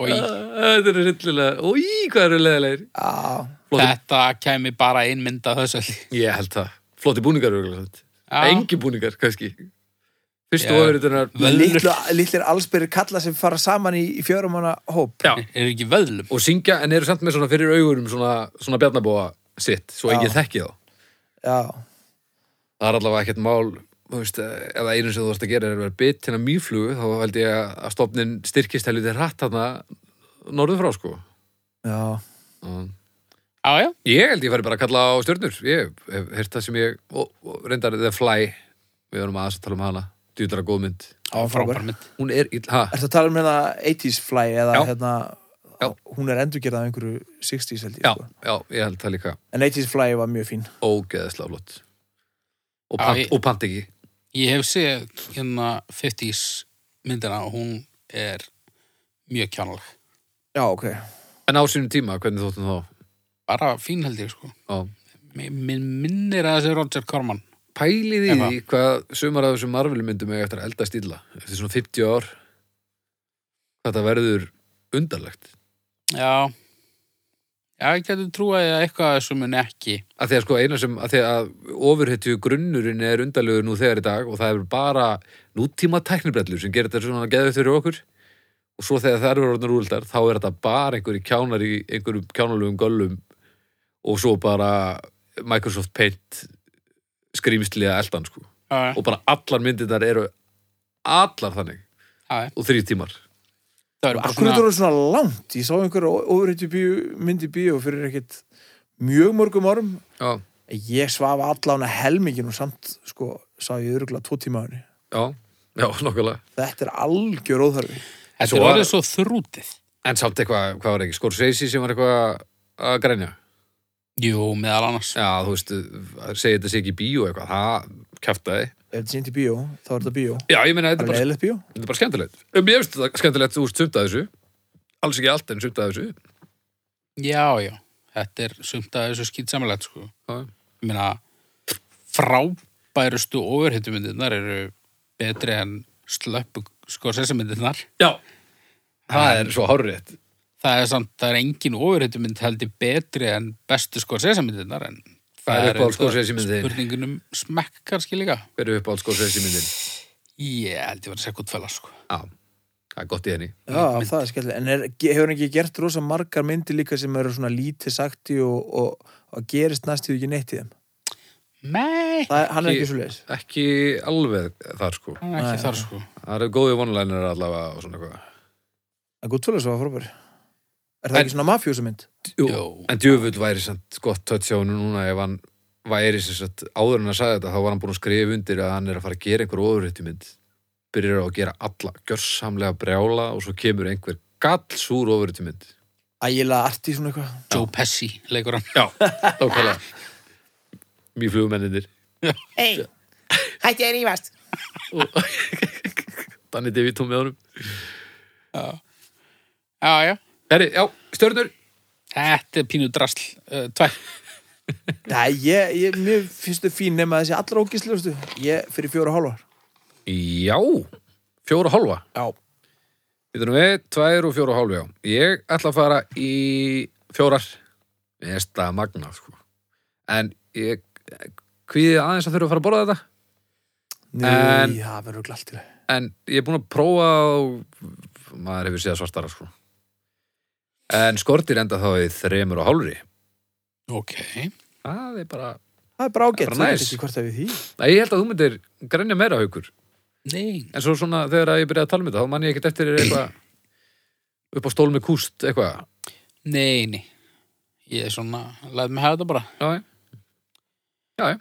Speaker 3: Og í,
Speaker 1: þetta er rillilega, óí, hvað eru leðilegir
Speaker 2: Já,
Speaker 3: þetta kæmi bara einmynd af þessu allir.
Speaker 1: ég held það, flotti búningar
Speaker 3: Já.
Speaker 1: engi búningar kannski fyrstu
Speaker 3: Já.
Speaker 1: ofuritunar
Speaker 2: litlu, litlir allsbyrri kalla sem fara saman í, í fjörum hana hóp
Speaker 1: Já.
Speaker 3: Er ekki vöðlum?
Speaker 1: og syngja en eru samt með svona fyrir augurum svona, svona bjarnabóa sitt svo
Speaker 2: Já.
Speaker 1: enginn þekki þá
Speaker 2: Já,
Speaker 1: það er allavega ekkert mál þú veist, eh, ef það einu sem þú vorst að gera er að vera bytt hérna mýflugu þá held ég að stofnin styrkist helviti hratt þarna norður frá sko
Speaker 2: já
Speaker 1: Og
Speaker 3: Já, já.
Speaker 1: ég held ég færi bara að kalla á stjörnur ég hef heyrt það sem ég og, og reyndar The Fly við erum aðeins að tala um hana djúdara góðmynd
Speaker 2: Já, frábær.
Speaker 3: Frábær mynd.
Speaker 1: hún er ill, ha,
Speaker 2: Ertu að tala um hérna 80s fly eða
Speaker 1: Já.
Speaker 2: hérna
Speaker 1: Já.
Speaker 2: hún er endurgerð af einhverju 60s held ég
Speaker 1: já,
Speaker 2: sko.
Speaker 1: já, ég held það líka
Speaker 2: En 80s fly var mjög fín
Speaker 1: ógeðslega flott og
Speaker 3: Já,
Speaker 1: pant,
Speaker 3: ég-
Speaker 1: og pant ekki
Speaker 3: Ég hef séð hérna 50s myndina og hún er mjög kjánaleg.
Speaker 2: Já, ok
Speaker 1: en á sínum tíma, hvernig þóttum þá
Speaker 3: Bara fín held ég sko.
Speaker 1: á
Speaker 3: Minn minnir að þessi Roger Corman.
Speaker 1: Pælið í
Speaker 3: Eva.
Speaker 1: því hvað sumar af þessum Marvel myndum eiga eftir að eldast illa eftir svona 50 ár þetta verður undarlegt
Speaker 3: Já. Já, ég getur trúið að eitthvað af þessu mun ekki.
Speaker 1: að því að sko eina sem að því að ofurhetju grunnurinn er undarlegur nú þegar í dag og það er bara nútíma tæknibrellur sem gerir þetta svona geðið fyrir okkur og svo þegar það eru orðnar úrildar þá er þetta bara einhverju kjánar í einhverjum kjánalugum göllum og svo bara Microsoft Paint skrýmsli að eldan sko
Speaker 3: Já,
Speaker 1: og bara allar myndirnar eru allar þannig
Speaker 3: já.
Speaker 1: og þrý tímar
Speaker 3: Það verður bara
Speaker 2: Akkur þetta
Speaker 3: svona...
Speaker 2: voru svona langt Ég sá einhverju ofurhýttu myndi bíu fyrir ekkit mjög mörgum árum
Speaker 1: Já,
Speaker 2: Ég svafa allan að helmingin og samt sko, sá ég öruglega tvo tíma á henni
Speaker 1: já, já, nokkulega
Speaker 2: Þetta er algjör óþarfi
Speaker 3: Þetta
Speaker 1: Svo
Speaker 3: er
Speaker 1: var-
Speaker 3: orðið svo þrútið.
Speaker 1: En samt eitthvað, hvað var ekki, Scorsese sem var eitthvað að grænja
Speaker 3: Jú, meðal annars.
Speaker 1: Já, þú veist, að segja þetta sé ekki í bíó eitthvað Það kæftaði
Speaker 2: Ef þetta sýnt í bíó, þá er þetta bíó
Speaker 1: Já, ég meina, þetta er
Speaker 2: Það er
Speaker 1: bara,
Speaker 2: leiðilegt bíó
Speaker 1: þetta er bara skemmtilegt um, Ég veist þetta skemmtilegt, þú veist, sumt að þessu Alls ekki allt en sumt að þessu
Speaker 3: Já, já, þetta er sumt að þessu skýt samanlegt, sko.
Speaker 1: Já, já.
Speaker 3: Ég meina, frábærustu overhittumyndirnar eru betri en slöppu sko sessamyndirnar.
Speaker 1: Já. Það er svo hárétt.
Speaker 3: Það er samt, það er engin overhittumynd heldur betri en bestu sko sessamyndirnar, en
Speaker 1: Hvað er uppáhalds
Speaker 3: auðvitað
Speaker 1: Scorsese-myndin þín?
Speaker 3: Spurningunum smekk kannski líka.
Speaker 1: Hver er upp á alls góðsveitsi myndin?
Speaker 3: Ég held ég var að segja gott fæla, sko.
Speaker 1: Já, það er gott í henni.
Speaker 2: Já, það er skemmtilega. En er, hefur hann ekki gert rosa margar myndir líka sem eru svona lítið sakti og, og, og gerist næstu ekki neitt í þeim?
Speaker 3: Nei,
Speaker 2: Það, hann er
Speaker 1: Ekki-
Speaker 2: ekki svo leiðis.
Speaker 1: Ekki alveg þar sko.
Speaker 3: það er
Speaker 2: Nei,
Speaker 3: ekki þar,
Speaker 2: nei.
Speaker 3: sko.
Speaker 1: Það eru góði vonlænir allavega og svona eitthvað.
Speaker 2: Það er gott fölgast að frábær. Er það
Speaker 1: En-
Speaker 2: ekki svona mafjósa mynd?
Speaker 1: Jú,
Speaker 3: Jú.
Speaker 1: en djöfull væri samt gott touch á hennu núna ef hann væri sem sagt áður en að sagði þetta þá var hann búin að skrifa undir að hann er að fara að gera einhver ofurhættu mynd byrjar á að gera alla gjörsamlega brjála og svo kemur einhver gallsúr ofurhættu mynd
Speaker 2: Ægilega arti svona eitthvað.
Speaker 3: Joe Pesci leikur hann. Já.
Speaker 1: Nákvæmlega Mjög flugmennindir
Speaker 5: Hey, hætti að rífast.
Speaker 1: Danny DeVito með honum
Speaker 3: Já, já.
Speaker 1: Herri, já, stjörnur
Speaker 3: Þetta er pínu drasl. Uh, Tvær.
Speaker 2: Nei, ég, ég, mér finnst þau fín nema þessi allra ógislegustu. Ég fyrir fjóra og hálfar.
Speaker 1: Já, fjóra og hálfa
Speaker 2: Já.
Speaker 1: Þetta erum við, tvær og fjóra og hálfa já. Ég ætla að fara í fjórar Nesta magna sko. En ég kvíði aðeins að þurfa að fara að borða þetta
Speaker 2: Nú,
Speaker 1: En-
Speaker 2: það verður glaltilega.
Speaker 1: en ég er búin að prófa og maður hefur séð svartara sko. en skortir enda þá í þremur og hálfri
Speaker 3: Ok.
Speaker 1: það er bara,
Speaker 2: Það er bara ágætt.
Speaker 1: bara
Speaker 2: þú veit
Speaker 1: næs.
Speaker 2: ekki hvort það við því.
Speaker 1: Nei, ég held að þú myndir grænja meira haukur,
Speaker 3: Nei.
Speaker 1: en svo svona þegar að ég byrjaði að tala um þetta, þá man ég ekkert eftir þér eitthvað upp á stól með kúst eitthvað
Speaker 3: Nei, nei. Ég er svona, læt mig hafa þetta bara.
Speaker 1: já, já, já,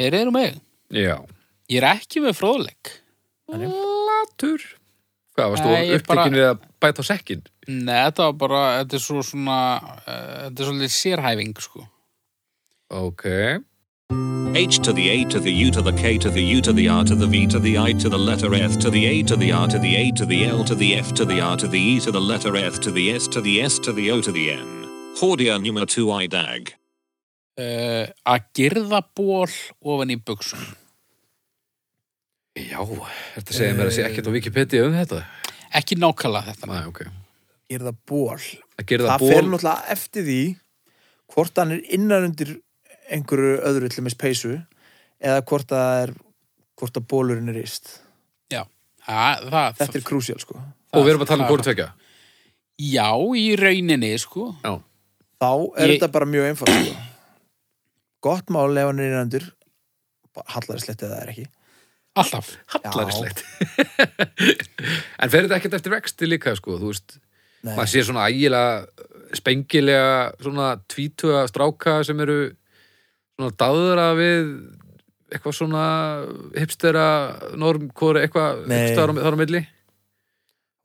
Speaker 3: Er eru mig?
Speaker 1: já
Speaker 3: Ég er ekki með fróðleik.
Speaker 1: latur hvað varst þú
Speaker 3: Nei, ég
Speaker 1: upptekinn við
Speaker 3: bara-
Speaker 1: að bæta á sekkin
Speaker 3: Nei, þetta var bara, þetta er svo svona, uh, þetta er svolítið sérhæfing, sko.
Speaker 1: ok,
Speaker 4: H to the A to the U to the K to the U to the R to the V to the I to the letter F to the A to the R to the A to the L to the F to the R to the E to the letter F to the S to the S to the O to the N. Hordia numma 2 idag.
Speaker 3: Uh, að girða ból ofan í buksum.
Speaker 1: já þetta segir mér að sé ekkert á Wikipedia um þetta
Speaker 3: Ekki nákvæmlega þetta.
Speaker 1: Nei, ok.
Speaker 2: Ég er það ból.
Speaker 1: að gera
Speaker 2: það
Speaker 1: það
Speaker 2: fer
Speaker 1: ból
Speaker 2: náttúrulega eftir því hvort hann er innan undir einhverju öðru til með speysu eða hvort það er hvort að bólurinn er rist
Speaker 3: Já. Það, það,
Speaker 2: þetta er krúsjál sko
Speaker 1: og við erum að tala um hvort tvekja
Speaker 3: Já, í rauninni, sko.
Speaker 1: já
Speaker 2: þá er
Speaker 3: Ég-
Speaker 2: þetta bara mjög einfalt sko. gott mál ef hann er innan undir hallarinslegt eða það er ekki
Speaker 3: Alltaf.
Speaker 1: Hallarinslegt En fer þetta ekkert eftir vexti líka sko, þú veist,
Speaker 2: Nei.
Speaker 1: maður sé svona ægilega spengilega svona tvítuga stráka sem eru svona daðra við eitthvað svona hipstera norm, hvori eitthvað
Speaker 2: Nei.
Speaker 1: hipstera þar á milli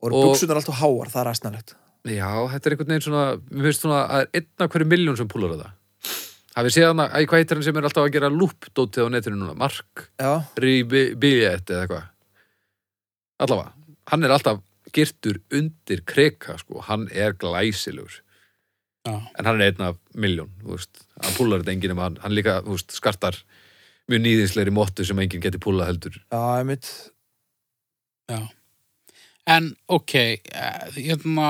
Speaker 2: og eru
Speaker 1: Og-
Speaker 2: buksunar alltaf háar, það er aðsnalegt
Speaker 1: Já, þetta er einhvern veginn svona mér finnst svona að það er einn af hverju miljón sem púlar þetta Hafið séð hann að, æ, hvað heitir hann sem er alltaf að gera loop-dótið á netinu núna, Mark
Speaker 2: já,
Speaker 1: Ribiet eða eitthvað allavega, hann er alltaf girtur undir kreka sko, hann er glæsilegur
Speaker 3: Já.
Speaker 1: en hann er einn af miljón þú veist, hann púlar þetta enginn um hann, hann líka þú veist, skartar mjög nýðinslegri móttu sem enginn geti púlað heldur
Speaker 2: já, ég mitt
Speaker 3: En, ok, eh, hérna,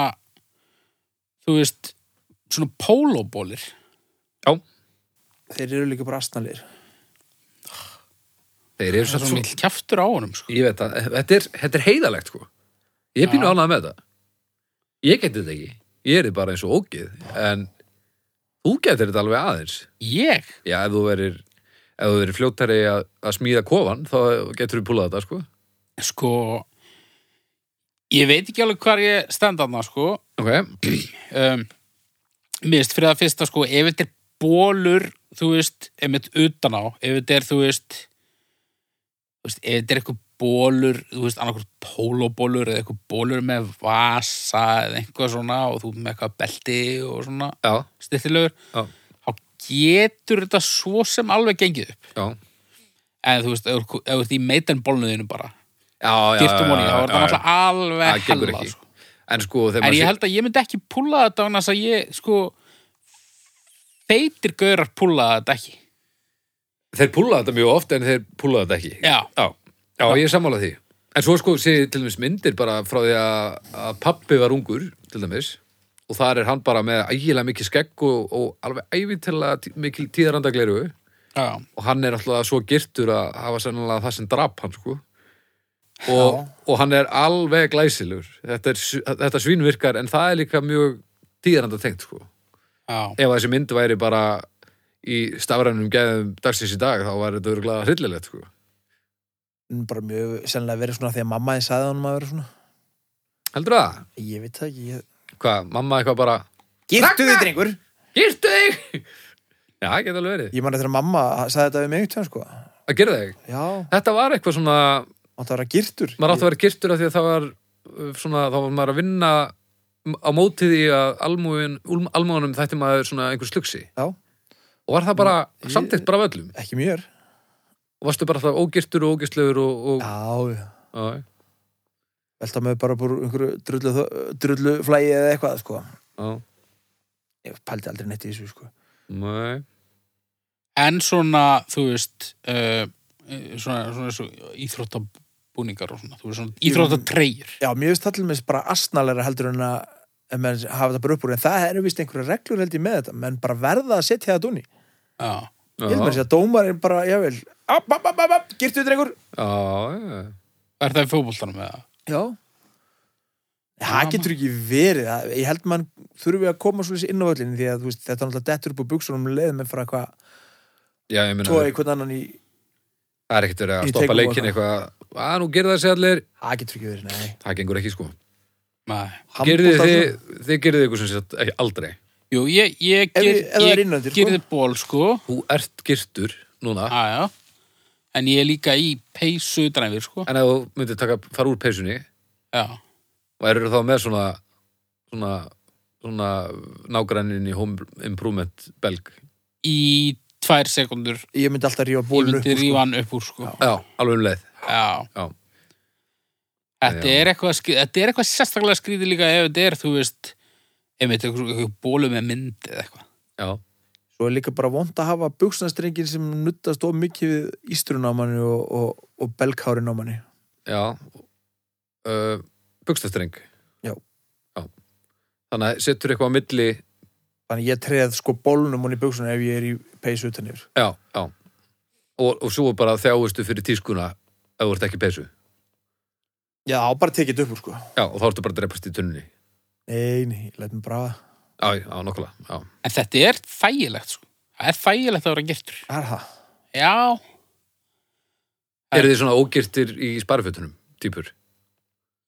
Speaker 3: þú veist, svona pólóbólir.
Speaker 2: þeir eru líka bara aðsnalir
Speaker 1: þeir eru
Speaker 3: Það
Speaker 1: satt
Speaker 3: er
Speaker 1: svo
Speaker 3: svona mill kjaftur á honum, sko.
Speaker 1: ég veit að, þetta er, þetta er heiðalegt sko ég er pínu
Speaker 3: Já.
Speaker 1: ánað með þetta ég geti þetta ekki, ég er bara eins og ógið en þú getur þetta alveg aðeins
Speaker 3: Ég?
Speaker 1: Já, ef þú verir ef þú verir fljóttari að, að smíða kofan þá getur þú púlað þetta, sko
Speaker 3: sko ég veit ekki alveg hvar ég stend aðna sko
Speaker 1: Ok,
Speaker 3: um, mist fyrir það fyrsta sko ef þetta er bólur þú veist, einmitt utan á ef þetta er þú veist, þú veist ef þetta er eitthvað bólur þú veist, annarkvort pólóbólur eða eitthvað bólur með vasa eða eitthvað svona og þú með eitthvað belti og svona
Speaker 1: já,
Speaker 3: styrtilegur
Speaker 1: Já.
Speaker 3: þá getur þetta svo sem alveg gengið upp
Speaker 1: já
Speaker 3: en þú veist, ef þú ef þú ert í meitanbólnuðinu bara,
Speaker 1: Já, já,
Speaker 3: dyrtum honum, þá
Speaker 1: já,
Speaker 3: er þetta
Speaker 1: já.
Speaker 3: náttúrulega
Speaker 1: Það
Speaker 3: alveg
Speaker 1: gengur
Speaker 3: hella
Speaker 1: ekki.
Speaker 3: sko
Speaker 1: En sko, þegar
Speaker 3: En
Speaker 1: maður
Speaker 3: ég
Speaker 1: sé-
Speaker 3: held að ég myndi ekki púla þetta annars að ég, sko, feitir gaurar púlaða þetta ekki
Speaker 1: Þeir púla þetta mjög oft en þeir púla þetta ekki.
Speaker 3: Já.
Speaker 1: Já, já ég er sammála því. En svo sko sé ég til dæmis myndir bara frá því að, að pappi var ungur, til dæmis, og þar er hann bara með ægilega mikið skegg og, og alveg ævitilega tí- mikil tíðarandagleiru
Speaker 3: Já,
Speaker 1: og hann er alltaf svo girtur að hafa sennilega það sem drap hann, sko. Og, og hann er alveg glæsilur. Þetta, er, sv- þetta svínvirkar en það er líka mjög tíðarandatengt, sko.
Speaker 3: já,
Speaker 1: Ef þessi mynd væri bara í stafrænum gæðum dagsins í dag, þá var þetta örgulega hryllilegt, sko.
Speaker 2: bara mjög sennilega verið svona því að mamma þið sagði honum að vera svona
Speaker 1: Heldur það?
Speaker 2: ég veit það ekki, ég...
Speaker 1: Hvað, mamma eitthvað bara
Speaker 5: Girtu þið, drengur
Speaker 1: Girtu þig! Já, það geta alveg verið
Speaker 2: ég man eftir að mamma sagði þetta við mig einhvern tímann, sko.
Speaker 1: Að gera þig
Speaker 2: já,
Speaker 1: Þetta var eitthvað svona
Speaker 2: átti að vera girtur
Speaker 1: Maður átti að vera girtur af því að það var uh, svona, Þá var maður að vinna m- á móti því að almúin, almúinum þætti maður svona einhver slugsi
Speaker 2: Já. Mm.
Speaker 1: Og var það bara
Speaker 2: Ég-
Speaker 1: samtitt bara af öllum
Speaker 2: ekki mjög
Speaker 1: Og varstu bara alltaf ógirtur og ógistlegur og, og,
Speaker 2: já, já.
Speaker 1: já.
Speaker 2: velta mig bara búr einhverju drullu, drullu flægi eða eitthvað sko.
Speaker 1: Já,
Speaker 2: ég pældi aldrei neitt í þessu sko.
Speaker 1: nei
Speaker 3: en svona, þú veist uh, svona, svona, svona íþróttabúningar og svona, þú veist svona íþróttatreyjur
Speaker 2: já, mér finnst það til mér bara astnalera heldur en að en menn hafa þetta bara upp úr en það eru vist einhverju reglur held ég með þetta menn bara verða að setja þetta unni
Speaker 3: Já,
Speaker 2: ég held mér að dómar er bara, jável app, app, app, app, app, girtu drengur
Speaker 1: Já, já
Speaker 3: er það í fótboltanum eða?
Speaker 2: já það getur ekki verið það- ég held mann þurfi að koma svolítið inn á öllin því að þú veist, þetta er náttúrulega dettur upp úr buksunum leið með fara eitthvað
Speaker 1: Já, ég meina,
Speaker 2: tóa í hvern annan í
Speaker 1: það er ekkert verið að
Speaker 2: Í
Speaker 1: stoppa
Speaker 2: tegum og
Speaker 1: leikin
Speaker 2: það.
Speaker 1: eitthvað Að nú gerða þessi allir
Speaker 2: það getur ekki verið, nei
Speaker 1: Það gengur ekki sko
Speaker 3: Nei.
Speaker 1: Gerðið
Speaker 2: Handbolta-
Speaker 1: þið, þið gerðið ykkur sem sagt ekki aldrei
Speaker 3: Jú, ég, ég
Speaker 2: Ef-
Speaker 3: ger,
Speaker 2: ef það er
Speaker 3: ég
Speaker 2: innöndir, sko.
Speaker 3: gerði ból sko
Speaker 1: Þú ert girtur núna
Speaker 3: Aja. en ég er líka í peysu dræfir sko
Speaker 1: en ef þú myndir taka, fara úr peysunni
Speaker 3: Já,
Speaker 1: værir þá með svona svona, svona nágrannin í home improvement belg
Speaker 3: í tvær sekundur
Speaker 2: ég myndi alltaf rífa
Speaker 3: ég
Speaker 2: bólun upp úr,
Speaker 3: myndi
Speaker 2: sko.
Speaker 3: rífa hann upp úr sko
Speaker 1: Já, alveg um leið
Speaker 3: Já.
Speaker 1: Já.
Speaker 3: Þetta,
Speaker 1: Já.
Speaker 3: Er eitthvað, skri- þetta er eitthvað sérstaklega skrýði líka ef þetta er, þú veist, ef þetta er eitthvað bólu með mynd eða eitthvað.
Speaker 1: Já,
Speaker 2: svo er líka bara vond að hafa buksnastrengin sem nuttast of mikið við ístrun á manni og, og, og belghárin á manni
Speaker 1: já uh, Bugstastreng
Speaker 2: Já.
Speaker 1: Já Þannig að setur eitthvað á milli
Speaker 2: þannig ég treð sko bólunum hún í buksunum ef ég er í peysu utan yfir
Speaker 1: Já, já Og, og svo bara þjáustu fyrir tískuna ef þú ert ekki í peysu
Speaker 2: já, á bara tekið þetta upp úr sko
Speaker 1: Já, og þá ertu bara að drepast í tunnunni
Speaker 2: nei, nei, ég læt mig bara
Speaker 1: Já, já, nokkulega Já,
Speaker 3: En þetta er þægilegt, sko. Það er þægilegt að vera gertur.
Speaker 2: er það
Speaker 3: Já,
Speaker 1: Eru þið svona ógirtir í sparifötunum, týpur?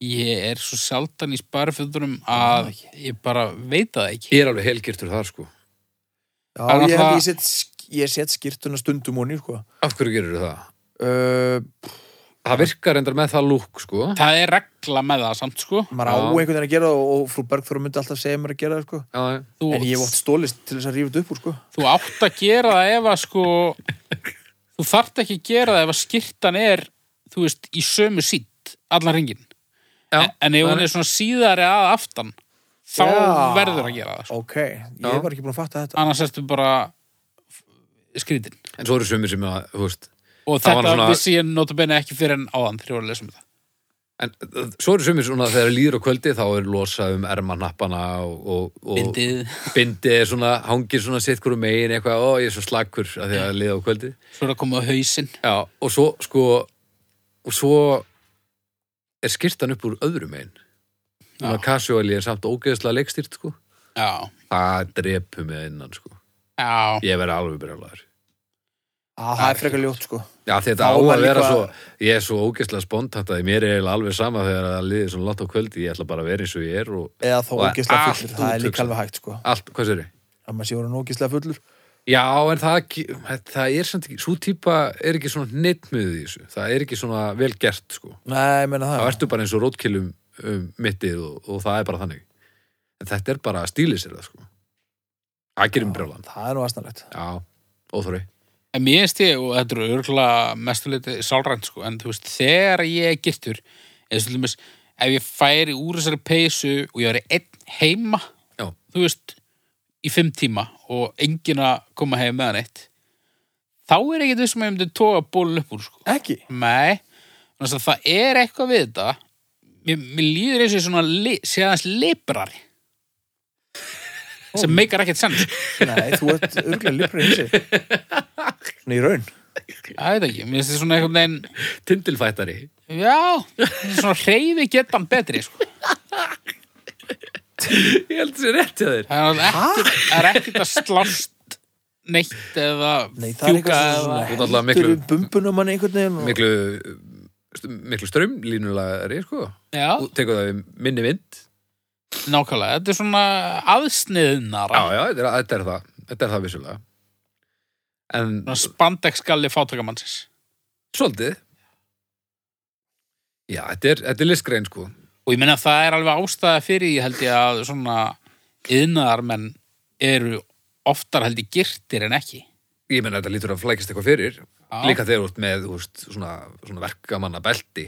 Speaker 3: ég er svo sjaldan í sparfjöldurum að ég bara veit það ekki.
Speaker 1: Ég er alveg helgirtur þar, sko.
Speaker 2: já,
Speaker 3: Það
Speaker 2: ég,
Speaker 3: er
Speaker 2: held
Speaker 3: náttúrulega-
Speaker 2: ég, set, sk- ég set skýrtuna stundum hún í sko
Speaker 1: Af hverju gerir það?
Speaker 2: uh,
Speaker 1: Það virkar endar með það lúk, sko.
Speaker 3: Það er regla með það samt, sko.
Speaker 2: maður á
Speaker 1: Já.
Speaker 2: einhvern veginn að gera það og, og frú Bergþóra myndi alltaf segja mér að gera það sko
Speaker 1: Já, já.
Speaker 3: Þú,
Speaker 2: en ég vótt stólist til þess að rífa þetta upp úr sko
Speaker 3: þú átt að gera það ef að, sko, þú þarft ekki að gera það ef að skýrtan er, þú veist, í sömu sítt allan ringin.
Speaker 1: já.
Speaker 3: En- en ef hún er svona síðari að aftan þá
Speaker 2: Já.
Speaker 3: verður að gera það sko.
Speaker 2: ok, ég
Speaker 1: Já.
Speaker 2: var ekki búin að fatta þetta
Speaker 3: annars ertu bara skrítin
Speaker 1: En svo eru sömur sem að, þú veist,
Speaker 3: og
Speaker 1: Það var
Speaker 3: þetta
Speaker 1: svona-
Speaker 3: vissi ég notabene ekki fyrir en áðan þegar ég var að lesa um það
Speaker 1: en uh, svo eru sömur svona þegar líður á kvöldi þá er losað um ermanappana og, og, og bindið er svona, hangir svona sitt hverju megin eitthvað, ó, ég er svo slakkur að því að liða á kvöldi.
Speaker 3: svo er að koma á hausinn
Speaker 1: Já, og svo, sko, og svo er skirtan upp úr öðru megin. Svona casuali er samt ógeðslega leikstýrt, sko.
Speaker 3: já,
Speaker 1: Það drepum við innan, sko.
Speaker 3: já,
Speaker 1: Ég verði alveg brjálæður.
Speaker 2: ah, það er frekar ljótt sko
Speaker 1: Já, þetta
Speaker 2: Þá
Speaker 1: á
Speaker 2: var
Speaker 1: að vera
Speaker 2: líka-
Speaker 1: svo, ég er svo ógeðslega spontant að mér er eiginlega alveg sama þegar það liðið svona látt á kvöldi, ég ætla bara að vera eins og ég er og
Speaker 2: eða þá
Speaker 1: Og er
Speaker 2: ógislega
Speaker 1: allt
Speaker 2: fullur, það er líka
Speaker 1: úthugsað.
Speaker 2: alveg hægt sko
Speaker 1: allt, hvað sér ég?
Speaker 2: að maður sé orðin ógislega fullur
Speaker 1: Já, en það, ekki- það er samt ekki, svo típa er ekki svona neittmiðið í þessu, það er ekki svona vel gert, sko.
Speaker 2: nei, ég meina
Speaker 1: Það
Speaker 2: það,
Speaker 1: ertu bara eins og rótkilum um, mittið og, og það er bara þannig. En þetta er bara að stíli sér það, sko. Það gerir mér brjólan.
Speaker 2: það er nú aðstæðanlegt
Speaker 1: Já, óþóri.
Speaker 3: en mér finnst ég og þetta eru örgulega mestuleiti sálrænt sko, en þú veist, þegar ég er giftur eða svolítið ef ég færi úr þessari peysu og ég væri einn heima
Speaker 1: Já.
Speaker 3: þú veist, í fimm tíma og enginn að koma heim meðan eitt þá er ekkert þessum að ég myndi toga bólun upp úr sko.
Speaker 2: Ekki?
Speaker 3: Nei, þannig að það er eitthvað við þetta Mér, mér líður eins og ég svona li, séðans librari sem meikar ekkert sens
Speaker 2: Nei, þú ert örglega lifrið hinsi. Svona í raun.
Speaker 3: Það veit ekki, mér finnst þetta svona einhvern veginn
Speaker 1: Tindilfættari.
Speaker 3: Já, þetta er svona hreyfi getan betri sko.
Speaker 1: Ég held þessi rétt hjá þér.
Speaker 3: Það er ekkert, það er ekkert að slást neitt eða
Speaker 2: Nei, það er
Speaker 3: fjúka
Speaker 1: Þú
Speaker 2: eitthvað sem
Speaker 3: eða
Speaker 1: ert
Speaker 2: svona
Speaker 1: alltaf
Speaker 2: heldur
Speaker 1: miklu-
Speaker 2: um bumbunum hann einhvern veginn. Og...
Speaker 1: Miklu, miklu strömlínulegri, sko.
Speaker 3: Já,
Speaker 1: Þú tekur það við minni vind.
Speaker 3: nákvæmlega, þetta er svona aðsniðnara
Speaker 1: Já, já, þetta er, þetta er það. Þetta er það vissulega. En
Speaker 3: Svona spandexgalli fátakamannsins
Speaker 1: svolítið. Já, þetta er, þetta er listgrein, sko.
Speaker 3: Og ég meina að það er alveg ástæða fyrir því held ég að svona yðnaðarmenn eru oftar held ég girtir en ekki.
Speaker 1: Ég menna þetta lítur að flækist eitthvað fyrir.
Speaker 3: Já.
Speaker 1: Líka þegar þú ert með þú veist, svona, svona verkamanna belti.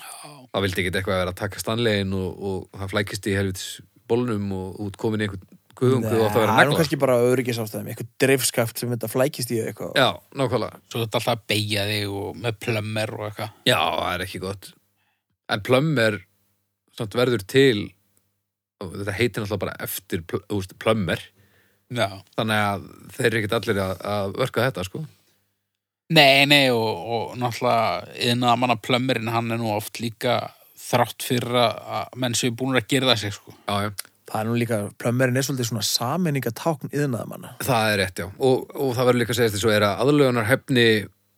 Speaker 1: Það vildi ekki eitthvað að vera að taka stanlegin og, og það flækist í helvitis bólnum og út komin í einhvern guðung og átt að vera
Speaker 2: það er nú
Speaker 1: negla.
Speaker 2: kannski bara öryggisástæðum, eitthvað dreifskaft sem þetta flækist í eitthvað.
Speaker 1: Já, nákvæmlega.
Speaker 3: Svo þetta alltaf að beigja þig og með plömmir og eitthvað.
Speaker 1: Já, það er ekki gott. En plömm er samt verður til og þetta heitir náttúrulega bara eftir pl- þú veist, plömmir.
Speaker 3: Já.
Speaker 1: Þannig að þeir eru ekkert allir að, að verka þetta, sko.
Speaker 3: Nei, nei og, og náttúrulega yðnaðarmanna plömmirinn hann er nú oft líka þrátt fyrir að- að menn séu búin að gera það sig sko.
Speaker 1: Já, já.
Speaker 2: Það er nú líka, plömmerin er svolítið svona sammenningatákn yðnaðamanna.
Speaker 1: Það er rétt, já. Og, og það verður líka að segja þess að er að aðlögunar hefni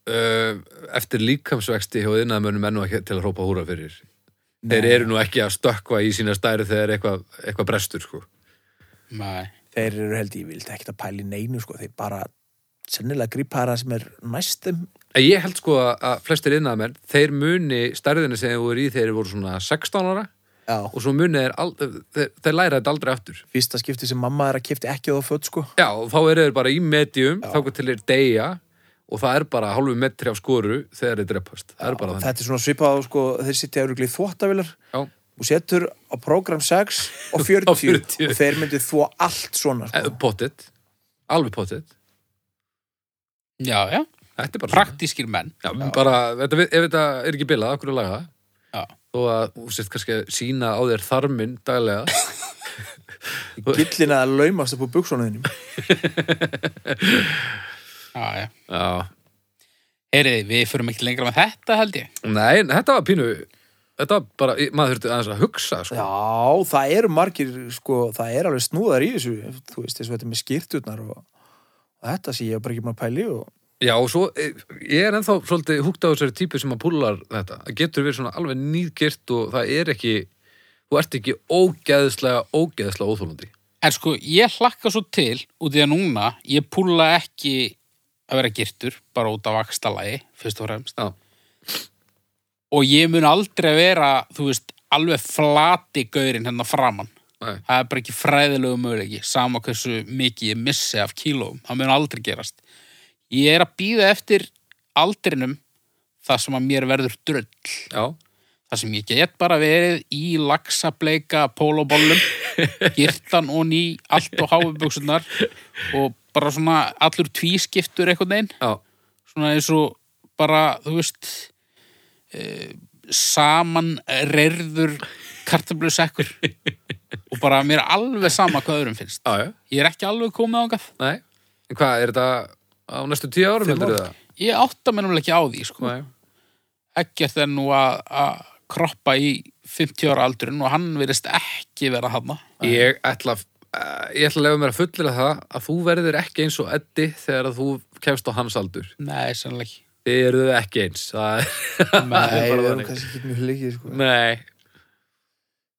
Speaker 1: uh, eftir líkamsvexti hjá yðnaðmönnum ennú ekki til að hrópa húra fyrir. Þeir eru nú ekki að stökkva í sína stæri þegar eitthvað eitthva brestur, sko.
Speaker 3: Nei.
Speaker 2: Þeir eru held ég vilt ekkert að pæli neinu, sko, þeir bara sennilega grípa það sem er næstum.
Speaker 1: En ég held sko að- að flestir yðnaðmenn, þeir muni stærðina sem þeir voru í þegar þeir voru svona 16 ára
Speaker 2: Já.
Speaker 1: og svo muni þeir, al, þeir, þeir læra þetta aldrei aftur.
Speaker 2: Fyrsta skipti sem mamma er að kipta ekki á það fött, sko.
Speaker 1: Já, og þá eru þeir bara í medium, þá til þeir deyja og það er bara hálfu metri af skoru þegar þeir dreppast. Það er bara þannig.
Speaker 2: Þetta er svona svipað á, sko, þeir sitja örugglega í þvóttavilar
Speaker 1: Já.
Speaker 2: og setur á program 6 og 40,
Speaker 1: Á 40.
Speaker 2: og þeir myndu þvó allt svona,
Speaker 1: Eh,
Speaker 2: sko.
Speaker 1: Pottet, alveg pottet.
Speaker 3: Já, já.
Speaker 1: Þetta er bara svona.
Speaker 3: Praktískir menn.
Speaker 1: Já, bara, þetta, við- ef þetta er ekki bilað, okkur að laga það
Speaker 3: Já.
Speaker 1: þó að, þú sért kannski að sína á þér þarminn daglega
Speaker 2: Gillin að laumast upp á buksónuðinum.
Speaker 3: Já, já.
Speaker 1: Já,
Speaker 3: Heyriði, við förum ekki lengra með þetta held ég.
Speaker 1: nei, en þetta var pínu þetta var bara, í- maður þurfti aðeins að hugsa sko.
Speaker 2: Já, það eru margir, sko, það er alveg snúðar í þessu, þú veist, þessu þetta með skýrturnar og, og þetta sé ég bara ekki maður pæli og
Speaker 1: Já, og svo, eh, ég er ennþá svolítið húgt á þessari típu sem að púlar þetta það getur verið svona alveg nýðgirt og það er ekki, þú ert ekki ógeðslega, ógeðslega óþólandi
Speaker 3: En sko, ég hlakka svo til út í að núna, ég púla ekki að vera girtur, bara út af akstalagi, fyrst og fremst.
Speaker 1: Já,
Speaker 3: Og ég mun aldrei vera, þú veist, alveg flati gaurinn hérna framann.
Speaker 1: nei,
Speaker 3: Það er bara ekki fræðilegu möguleiki, sama hversu mikið ég missi af kílóum. Það mun aldrei gerast. Ég er að býða eftir aldrinum það sem að mér verður drull.
Speaker 1: já,
Speaker 3: Það sem ég get bara verið í laxableika pólóbollum, girtan og ný allt og háfubuksunar og bara svona allur tvískiptur einhvern veginn
Speaker 1: já
Speaker 3: svona eins og bara, þú veist e, saman reyrður kartablusekkur og bara mér er alveg sama hvað öðrum finnst.
Speaker 1: Já, já,
Speaker 3: Ég er ekki alveg komið ángað.
Speaker 1: nei En hvað, er þetta á næstu tíu árum heldur það?
Speaker 3: Ég átta mér náttúrulega ekki á því, sko.
Speaker 1: Nei,
Speaker 3: Ekkert er nú að að kroppa í 50 ára aldurinn og hann virðist ekki vera hana.
Speaker 1: Ég ætla, uh, ég ætla að lefa mér að fullera það að þú verður ekki eins og Eddi þegar að þú kemst á hans aldur.
Speaker 3: Nei, sannlega ekki.
Speaker 1: Þið eruð ekki eins. Það er,
Speaker 2: það
Speaker 1: er bara
Speaker 2: er
Speaker 1: þannig.
Speaker 2: kannski ekki mjög leikið, sko.
Speaker 1: Nei.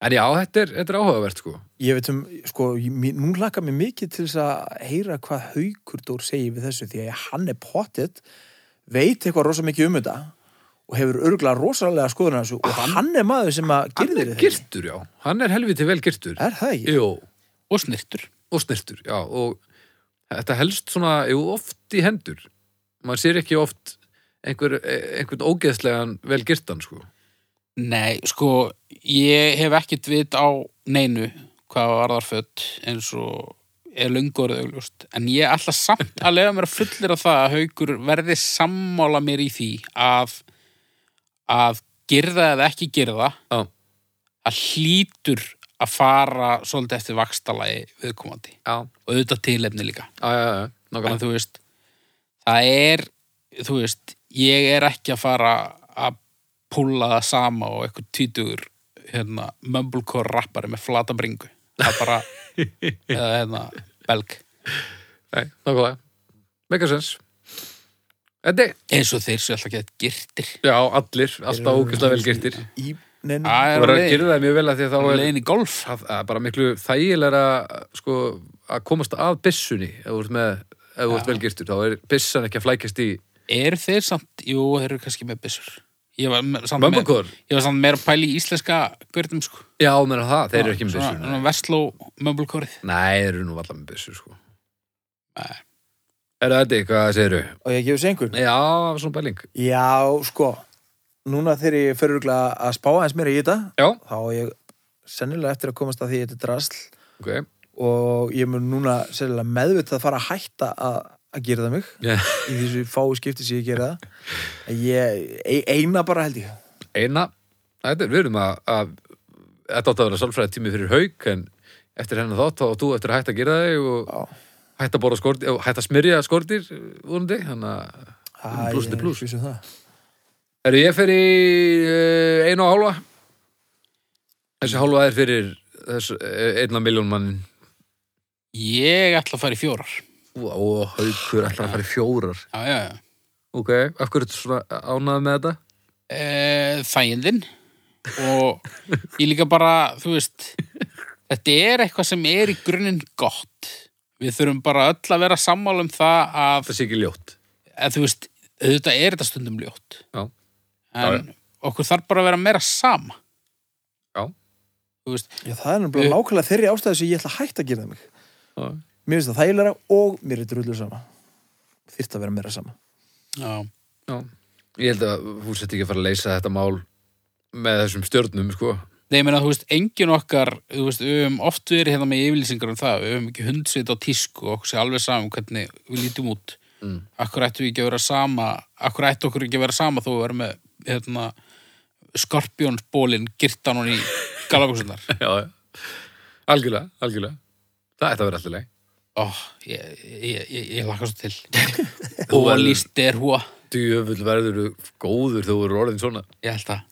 Speaker 1: En já, þetta er, þetta er áhugavert, sko.
Speaker 2: Ég veit um, sko, ég- mér- nú hlakka mér mikið til þess að heyra hvað Haukur Dór segir við þessu því að hann er pottitt, veit eitthvað rosa mikið um þetta og hefur örgulega rosalega skoðun að þessu og hann, er maður sem að
Speaker 1: Hann
Speaker 2: gerðir
Speaker 1: er
Speaker 2: þetta.
Speaker 1: girtur, já. Hann er helviti vel girtur.
Speaker 2: Er það ekki?
Speaker 1: Jú,
Speaker 3: Og snirtur.
Speaker 1: og snirtur, já. Og þetta helst svona, jú, oft í hendur. Man sér ekki oft einhver, einhvern ógeðslegan vel girtan, sko.
Speaker 3: Nei, sko, ég hef ekkert vit á neinu hvað varðar fött eins og er lönguorðið augljóst en ég ætla samt að lega mér að fullir að það að haukur verði sammála mér í því að að gerða eða ekki gerða
Speaker 1: Já.
Speaker 3: að hlýtur að fara svolítið eftir vakstalagi viðkomandi
Speaker 1: Já,
Speaker 3: og auðvitað tilefni líka
Speaker 1: já, já, já,
Speaker 3: en
Speaker 1: nákvæmlega.
Speaker 3: þú veist það er, þú veist ég er ekki að fara að púlla það sama og eitthvað týtugur hérna, mumblecore rappari með flata bringu það er bara, eða hérna belg,
Speaker 1: Nei, nákvæmlega. Megasens. Þetta er,
Speaker 3: eins og þeir sem alltaf gett girtir
Speaker 1: já, allir, alltaf ógæslega vel girtir.
Speaker 2: Í, nein,
Speaker 3: það
Speaker 1: Þú
Speaker 3: er á
Speaker 1: verður að
Speaker 3: leiðin-
Speaker 1: gera það mjög vel að því að
Speaker 3: á
Speaker 1: þá er
Speaker 3: leiðin í golf
Speaker 1: það það er bara miklu þægilega sko, að komast að byssunni ef þú ert með, ef þú ert vel girtur þá er byssan ekki að flækjast í
Speaker 3: eru þeir samt, jú, þeir eru kannski með byssur ég var me- samt með
Speaker 1: mömbakor.
Speaker 3: ég var samt meira að pæla í íslenska gurnum sko
Speaker 1: Já, meðan það, þeir eru ekki með byssur.
Speaker 3: svona,
Speaker 1: nei.
Speaker 3: svona vestló mömbulkorið
Speaker 1: Nei, þeir eru nú allar með byssur, sko.
Speaker 3: Nei.
Speaker 1: Er þetta eitthvað, segir þú?
Speaker 2: og ég gefur sengur
Speaker 1: Já, svona bæling.
Speaker 2: Já, sko Núna þegar ég fyrir örugglega að spá aðeins meira í þetta
Speaker 1: Já,
Speaker 2: þá á ég sennilega eftir að komast að því þetta er drasl
Speaker 1: ok.
Speaker 2: og ég mun núna sennilega meðvitað að fara að hætta að, að gera það mig
Speaker 1: Já.
Speaker 2: í þessu fáu skipti sem ég gera það En ég, e- eina bara held ég
Speaker 1: eina þetta er, við erum að, að þetta átt að vera sálfræði tími fyrir hauk en eftir hennar þátt þá átt þú eftir að hætta að gera þig og
Speaker 2: Já.
Speaker 1: hætta að borða skortir og hætta að smyrja skortir vonandi þannig að
Speaker 2: Æ,
Speaker 1: Plús til
Speaker 2: ég er
Speaker 1: plús.
Speaker 2: ekki viss um það.
Speaker 1: eru ég fyrir uh, einu og hálfa þessi hálfa er fyrir þess, eh, einna miljón mann
Speaker 3: ég ætla að fara í fjórar já,
Speaker 1: og haukur ætlar að fara í fjórar
Speaker 3: já, já.
Speaker 1: ok, af hverju ertu svona ánað með þetta?
Speaker 3: E, þægindin og ég líka bara þú veist, þetta er eitthvað sem er í grunninn gott við þurfum bara öll að vera sammála um það að,
Speaker 1: það sé ekki ljótt
Speaker 3: að þú veist, auðvitað er þetta stundum ljótt
Speaker 1: Já. Já,
Speaker 3: en okkur þarf bara að vera meira sama
Speaker 1: Já.
Speaker 3: þú veist,
Speaker 2: Já, það er náttúrulega
Speaker 3: Ég-
Speaker 2: nákvæmlega þeirri ástæðu sem ég ætla að hætta að gera það mig
Speaker 1: Já.
Speaker 2: Mér finnst það þægilega og mér er drullu sama Þyrft að vera meira sama
Speaker 3: já,
Speaker 1: Já. ég held að þú sett ekki að fara að leysa þetta mál með þessum stjörnum sko
Speaker 3: Nei, ég meina, þú veist, engin okkar, þú veist, við höfum oft verið hérna með yfirlýsingar um það, við höfum ekki hundsveit á tísku og okkur sé alveg saman hvernig við lítum út. Mm. Akkur ættum við ekki að vera sama, akkur ættu okkur ekki að vera sama þó við erum með, hérna, skorpjónsbólin girtan hún í galabúksunar.
Speaker 1: já, já. algjörlega, algjörlega það ætti að vera alltaf leið
Speaker 3: Ó, ég, ég, ég, ég laka svo til. og líst er húa,
Speaker 1: djöfull verður þú góður þegar þú eru orðin svona
Speaker 3: ég held að,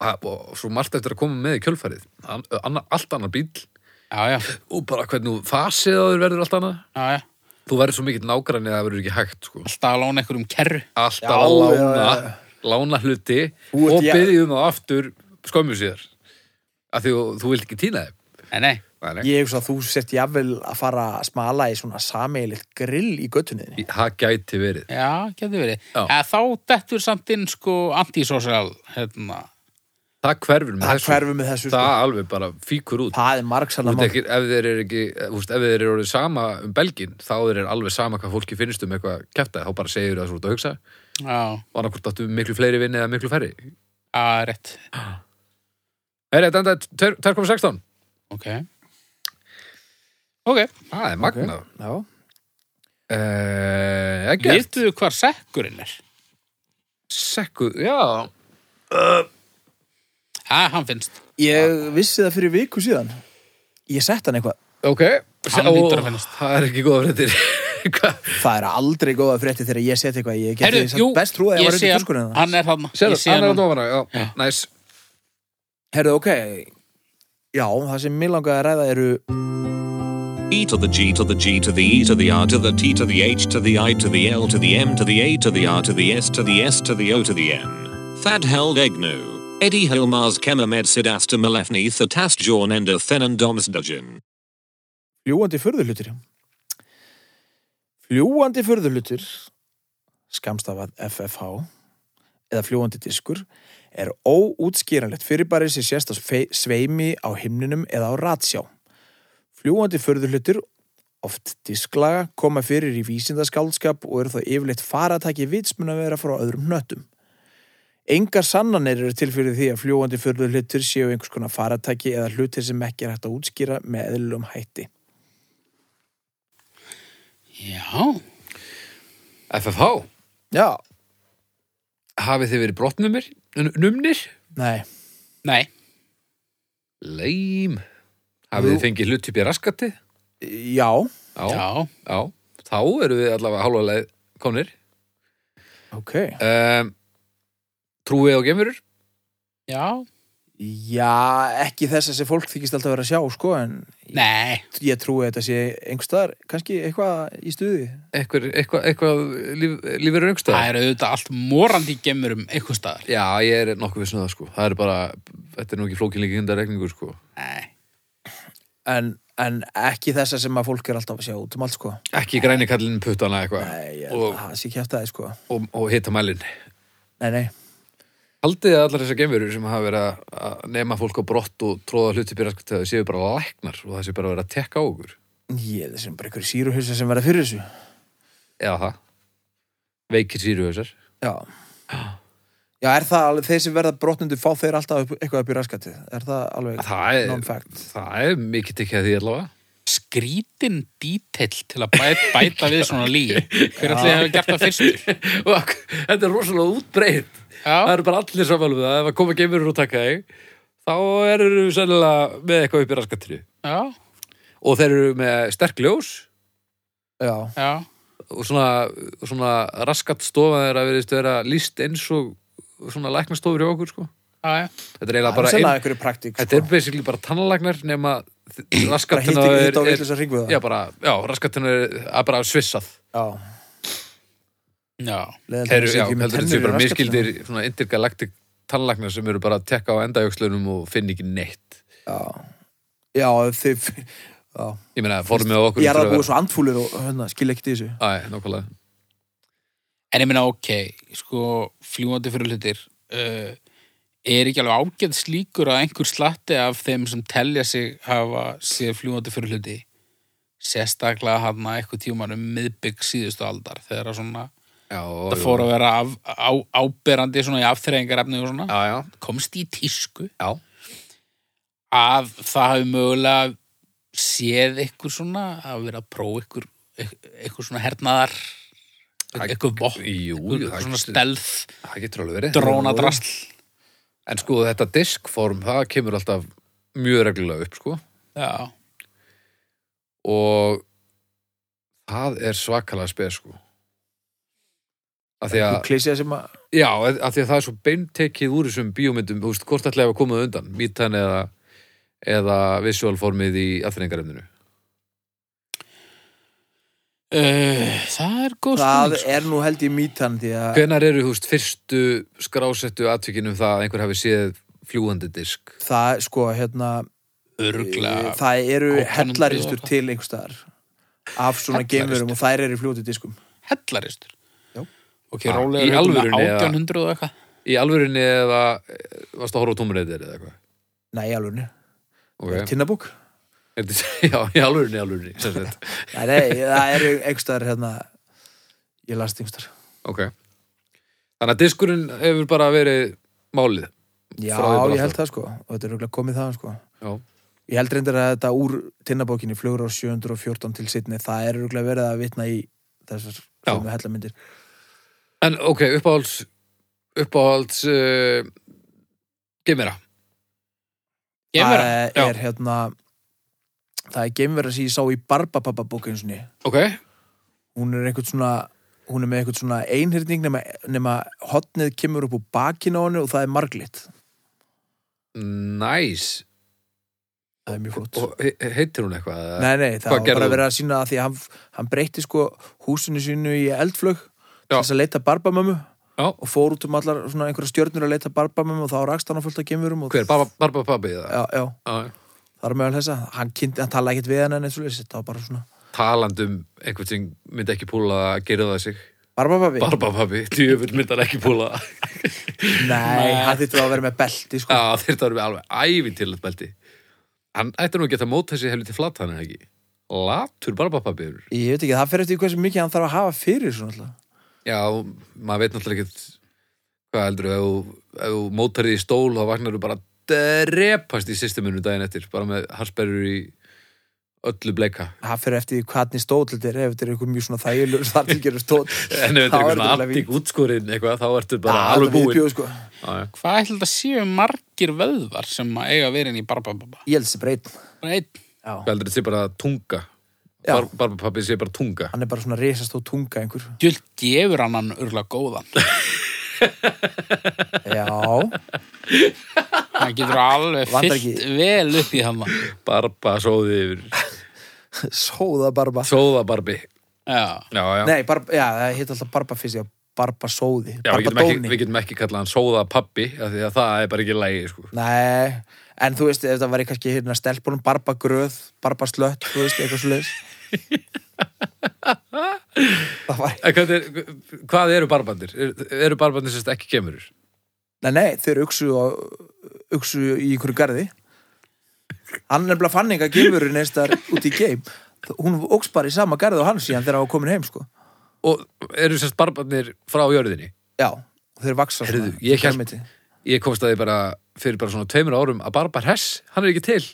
Speaker 1: Ha, og svo margt eftir að koma með í kjölfærið An, anna, allt annar bíl
Speaker 3: já, já,
Speaker 1: og bara hvernig þú fasið á þér verður allt annað
Speaker 3: já, já,
Speaker 1: þú verður svo mikill nágrann eða það verður ekki hægt sko.
Speaker 3: alltaf að lána einhverjum kerru.
Speaker 1: alltaf
Speaker 2: Já,
Speaker 1: að lána
Speaker 2: já, já.
Speaker 1: lána hluti
Speaker 2: Þú ert
Speaker 1: og
Speaker 2: ég-
Speaker 1: byrðið um það aftur skömmu síðar af því þú, þú vilt ekki týna þeim
Speaker 3: Nei, nei,
Speaker 1: Nei, nei.
Speaker 2: Ég hugsa að þú sett jafnvel að fara að smala í svona sameilitt grill í göttunniðinni
Speaker 1: það gæti verið
Speaker 3: já, getur verið.
Speaker 1: Já.
Speaker 3: Eða þá dettur samt inn, sko, antisocial, hérna,
Speaker 1: það hverfur með
Speaker 2: Það
Speaker 1: þessu
Speaker 2: hverfum við þessu sko.
Speaker 1: það alveg bara fíkur út
Speaker 2: Það er margsanna
Speaker 1: Þú
Speaker 2: mál
Speaker 1: veit ekki, ef þeir eru ekki, þú veist, ef þeir eru orðið sama um Belgin, þá er þeir alveg sama hvað fólki finnst um eitthvað kæfta, þá bara segir það svo út að hugsa,
Speaker 3: já.
Speaker 1: og annarkvort áttu miklu fleiri vinni eða miklu færri.
Speaker 3: Já, rétt.
Speaker 1: Er þetta enda 2,16?
Speaker 3: Ok. Ok.
Speaker 1: Það er magnað.
Speaker 2: Já,
Speaker 1: Okay. Ekki,
Speaker 3: Vituðu hvar sekkurinn er?
Speaker 1: sekku, já,
Speaker 3: Já, hann finnst.
Speaker 2: Ég vissi það fyrir viku síðan Ég sett hann eitthvað
Speaker 1: ok.
Speaker 3: Hann
Speaker 1: Ó,
Speaker 3: hlýtur að finnast.
Speaker 1: Það er ekki góða fréttir. Hvað?
Speaker 2: Það er aldrei góða frétti þegar ég set eitthvað Ég geti
Speaker 3: Heyrðu,
Speaker 2: samt best trúið að ég var
Speaker 3: sé
Speaker 2: undir
Speaker 3: hann.
Speaker 2: tuskunni það
Speaker 3: Hann er hann.
Speaker 1: Sérðu, hann er á dofana, já,
Speaker 3: Já.
Speaker 1: næs.
Speaker 2: Herðu, ok Já, það sem mér langaði að ræða eru
Speaker 4: E to the G to the G to the E to the R to the T to the H to the I to the L to the M to the A to the R to the S to the S to the O to the N. Thad held egnu. Eddie Hilmars Kemamed Sidasta Malefni Thatast Jorn Ender Thenan Domsdujin.
Speaker 2: fljúandi furðulutir Fljúandi furðulutir skamstafað FFH eða fljúandi diskur er óútskýranlegt fyrirbæri sem sést á svei- sveimi á himninum eða á ratsjá. Fljúandi furðulutir, oft disklaga, koma fyrir í vísindaskaldskap og eru þá yfirleitt faratæki vitsmuna vera frá öðrum nöttum. Engar sannanir eru til fyrir því að fljúandi furðulutir séu einhvers konar faratæki eða hlutir sem ekki er hægt að útskýra með eðlum hætti.
Speaker 3: Já,
Speaker 1: FFH,
Speaker 2: Já,
Speaker 1: hafið þið verið brottnumir? n- Numnir?
Speaker 2: nei,
Speaker 3: nei,
Speaker 1: Leim. Hafið þið
Speaker 2: Jú.
Speaker 1: fengið hlut upp í raskati?
Speaker 2: já
Speaker 1: Já. Já.
Speaker 3: já,
Speaker 1: Þá eru við allavega hálfa leið konir.
Speaker 2: Ok
Speaker 1: Um, trúið og gemurur?
Speaker 3: já,
Speaker 2: Já, ekki þess að þessi fólk þykist alltaf vera að sjá, sko En
Speaker 3: nei,
Speaker 2: ég trúi að þetta sé einhverstaðar Kannski eitthvað í stuði
Speaker 1: Eitthvað, eitthvað, eitthvað líf, lífur
Speaker 3: það
Speaker 1: raungstöðar?
Speaker 3: eru auðvitað allt morandi í gemurum einhver staðar.
Speaker 1: Já, ég er nokkuð vissna það sko. Það er bara, þetta er nú ekki flókinleiki hundarregningur sko.
Speaker 3: Nei,
Speaker 2: En, en ekki þess að sem að fólk er alltaf að sjá út um allt, sko
Speaker 1: Ekki græni kallinn puttana eitthvað
Speaker 2: Nei, ég,
Speaker 1: Og-
Speaker 2: það sé kjæft aðeins, sko
Speaker 1: og, og hitta mælinn.
Speaker 2: Nei, nei,
Speaker 1: Haldið þið að allar þessar gemurur sem hafa verið að- að nema fólk á brott og tróða hluti byrja sko þegar séu bara læknar og það séu bara að vera að tekka á okkur.
Speaker 2: ég er sem bara einhverju síruhauðsa sem verða fyrir þessu
Speaker 1: Eða það. Veikir síruhausar.
Speaker 2: Já Já, er það alveg, þeir sem verða brotnundu fá þeir alltaf upp, eitthvað upp í raskatið? Er það alveg
Speaker 1: Það er,
Speaker 2: non-fact?
Speaker 1: það er mikið tekjað því allavega.
Speaker 3: skrítin dítill til að bæta, bæta við svona lígi. Hver allir hefur gert það fyrstur?
Speaker 1: Og ak- þetta er rosalega útbreytt. Það
Speaker 3: Já,
Speaker 1: eru bara allir sammála um það. Ef að koma gemurur og taka þig, þá eru þú sennilega með eitthvað upp í raskatinu.
Speaker 3: já,
Speaker 1: Og þeir eru með sterk ljós
Speaker 2: Já,
Speaker 3: já,
Speaker 1: og svona, svona raskat stofa þeirra veriðist vera líst eins og svona læknastofur hjá okkur, sko.
Speaker 3: já, já.
Speaker 1: Þetta er
Speaker 2: það
Speaker 1: eiginlega
Speaker 2: er
Speaker 1: bara...
Speaker 2: sennilega
Speaker 1: Ein,
Speaker 2: einhverju praktík sko.
Speaker 1: þetta er basically bara tannlæknar nema
Speaker 2: bara
Speaker 1: raskatina
Speaker 2: hitt ekki
Speaker 1: er,
Speaker 2: hitt
Speaker 1: er,
Speaker 2: á vitlis að ringu það
Speaker 1: já, bara, já, raskatina er að bara svissað.
Speaker 2: já.
Speaker 3: já.
Speaker 1: Þeir
Speaker 2: leiðilegt að það
Speaker 1: eru,
Speaker 2: sé
Speaker 1: já,
Speaker 2: ekki með
Speaker 1: heldur þetta
Speaker 2: tennur
Speaker 1: séu
Speaker 2: í
Speaker 1: bara
Speaker 2: rassgatinu.
Speaker 1: miskildir svona intergalaktik tannlæknar sem eru bara að tekka á endajökslunum og finn ekki neitt.
Speaker 2: já, já þið já.
Speaker 1: Ég meina, formið á okkur
Speaker 2: ég er
Speaker 1: hlýtur
Speaker 2: að búið svo andfúlir og hérna, skil ekkert í þessu
Speaker 1: Æ, nákvæmlega.
Speaker 3: En ég meina, ok, sko, fljúandi fyrir hlutir, uh, er ekki alveg ágæð slíkur að einhver slatti af þeim sem telja sig hafa séð fljúandi fyrir hluti, sérstaklega hann að eitthvað tíman um miðbygg síðustu aldar, þegar að svona,
Speaker 1: Já,
Speaker 3: það fór að vera af, á, áberandi svona í afþreyingarefni og svona,
Speaker 1: Já, já,
Speaker 3: komst í tísku
Speaker 1: já.
Speaker 3: að það hafi mögulega séð eitthvað svona, að vera að prófa eitthvað, eitthvað svona hernaðar, eitthvað vopn,
Speaker 1: Jú, jú,
Speaker 3: eitthvað
Speaker 1: það
Speaker 3: svona
Speaker 1: getur-
Speaker 3: stelð,
Speaker 1: það getur alveg verið.
Speaker 3: drónadrasl.
Speaker 1: En sko, þetta diskform, það kemur alltaf mjög reglulega upp, sko.
Speaker 3: Já.
Speaker 1: Og það er svakalega speð, sko. Af því að,
Speaker 2: klísja sem að
Speaker 1: já, af því að það er svo beintekið úr þessum bíómyndum, þú veist, hvort ætlaði að komað undan, mítan eða, eða visualformið í aðfinningarefninu.
Speaker 3: Uh, það er góð
Speaker 2: það
Speaker 3: spurning. sko.
Speaker 2: er nú held ég mítan því að
Speaker 1: Hvenær eru, þú veist, fyrstu skrásettu atvikinum það að einhver hafi séð fljúandi disk?
Speaker 2: það sko hérna
Speaker 3: Örugglega.
Speaker 2: Eh, það eru
Speaker 3: 1800
Speaker 2: hellaristur
Speaker 3: og-
Speaker 2: til einhverstaðar af svona
Speaker 3: Hellaristur.
Speaker 2: geimurum og þær eru í fljóti diskum
Speaker 3: hellaristur.
Speaker 2: Já.
Speaker 3: Ok,
Speaker 1: Ah,
Speaker 3: rólega
Speaker 1: í
Speaker 3: er hérna
Speaker 1: alvörunni eða-
Speaker 3: 1800 og eitthvað.
Speaker 1: Í alvörinni eða eh, varstu að horfa á tómreitir eða eitthvað?
Speaker 2: nei, alveg,
Speaker 1: Okay.
Speaker 2: tinnabók
Speaker 1: Er þetta- Já, í alvörunni, í alvörunni sem sagt.
Speaker 2: nei, nei, það eru einhverstaðar hérna ég las þetta einhverstaðar
Speaker 1: Ok Þannig að diskurinn hefur bara verið málið
Speaker 2: já,
Speaker 1: Frá því bara
Speaker 2: ég
Speaker 1: alltaf.
Speaker 2: held það sko og þetta er auðvitað komið það sko
Speaker 1: Já,
Speaker 2: Ég held reyndar að þetta úr tinnabókinni flugur á 714 til sittni, það er örgulega verið að vitna í þessar
Speaker 1: Já.
Speaker 2: sömu hellamyndir.
Speaker 1: En ok, uppáhalds uppáhalds uh, gemera
Speaker 3: Gemur
Speaker 2: það
Speaker 3: það?
Speaker 1: já.
Speaker 2: er hérna það er geimverða sem ég sá í Barbapapa bókinsunni.
Speaker 1: Ok,
Speaker 2: Hún er einhvern svona hún er með einhvern svona einhyrning nema, nema hotnið kemur upp úr bakinu á henni og það er marglitt.
Speaker 1: nice
Speaker 2: Það er mjög flott.
Speaker 1: Og he- heitir hún eitthvað? eða?
Speaker 2: nei, nei, það
Speaker 1: hvað
Speaker 2: var
Speaker 1: gerði
Speaker 2: bara
Speaker 1: hún?
Speaker 2: verið að sína að því að hann, hann breytti sko húsinu sínu í eldflög
Speaker 1: Já.
Speaker 2: til þess að leita Barbamömmu
Speaker 1: Já.
Speaker 2: og fór út um allar svona einhverja stjörnur að leita Barbamömmu og þá rakst hann á fullt af gemurum og
Speaker 1: Hver, Barba, barba Pabbi eða?
Speaker 2: já, já,
Speaker 1: Já.
Speaker 2: það er meðal þessa hann, kynnti, hann talaði ekkert við hann en eins og leys þetta var bara svona
Speaker 1: Talandi um einhvern sem myndi ekki púla að gera það sig
Speaker 2: Barbapappi?
Speaker 1: Barba Pabbi, djöfull myndi hann ekki púla það.
Speaker 2: Nei, hann þýttur að vera með belti sko.
Speaker 1: Já, þetta eru alveg ævintilegt belti Hann ætti nú að geta mót þessi helviti flat hann er það ekki Latur Barba Pabbi eru
Speaker 2: ég veit ekki, það fer eftir því hversu mikið hann þarf að hafa fyrir svona alltaf
Speaker 1: Já, maður veit náttúrulega ekkert hvað heldur, ef þú, ef þú mótar því í stól þá vagnar þú bara að drepast í systeminu daginn eftir, bara með harsberður í öllu bleika
Speaker 2: það fyrir eftir því hvernig stóll þetta er ef þetta er eitthvað mjög svona þægilegur þar til gerur stóll
Speaker 1: en ef þetta er eitthvað svona antík útskorinn eitthvað, þá ertu bara alveg búinn
Speaker 2: sko.
Speaker 1: Já, já.
Speaker 3: Hvað ætla þetta séu margir vöðvar sem að eiga verið inn í barbababa?
Speaker 2: ég held þessi breyt
Speaker 3: Bara einn.
Speaker 1: hvað heldur þetta sé bara tunga
Speaker 2: Já.
Speaker 1: Bar, barbapappið sé bara tunga
Speaker 2: hann er bara svona risast og tunga einhver
Speaker 3: Djöld gefur hann hann örla góðan.
Speaker 2: já,
Speaker 3: Hann getur alveg
Speaker 2: Vantar
Speaker 3: fyllt
Speaker 2: ekki-
Speaker 3: vel upp í hann.
Speaker 1: barba sóði yfir
Speaker 2: sóða barba
Speaker 1: sóða barbi
Speaker 3: Já.
Speaker 1: já, já.
Speaker 2: nei, barba, já, það heit alltaf barba fyrst barba sóði,
Speaker 1: já, við,
Speaker 2: barba
Speaker 1: getum ekki,
Speaker 2: dóni
Speaker 1: við getum ekki kallað hann sóða pappi af því að það er bara ekki lægi sko.
Speaker 2: nei, en þú veist ef það væri kannski hérna stelpunum barba gröð barba slött, þú veist, eitthvað svo leis það var
Speaker 1: En hvað, er, hvað eru barbandir? Er, eru barbandir sem sagt ekki kemurur?
Speaker 2: Nei, nei, þau eru uksu, á, uksu í einhverju garði Hann er bara fanning að gefur neistar út í geim Hún óks bara í sama garði og hann síðan þegar hann var komin heim sko.
Speaker 1: Og eru sem sagt barbandir frá jörðinni?
Speaker 2: Já, þau eru vaksa
Speaker 1: Heyrðu, ég hélt- Ég komst að því bara fyrir bara svona tveimur árum að Barbar Hess, hann er ekki til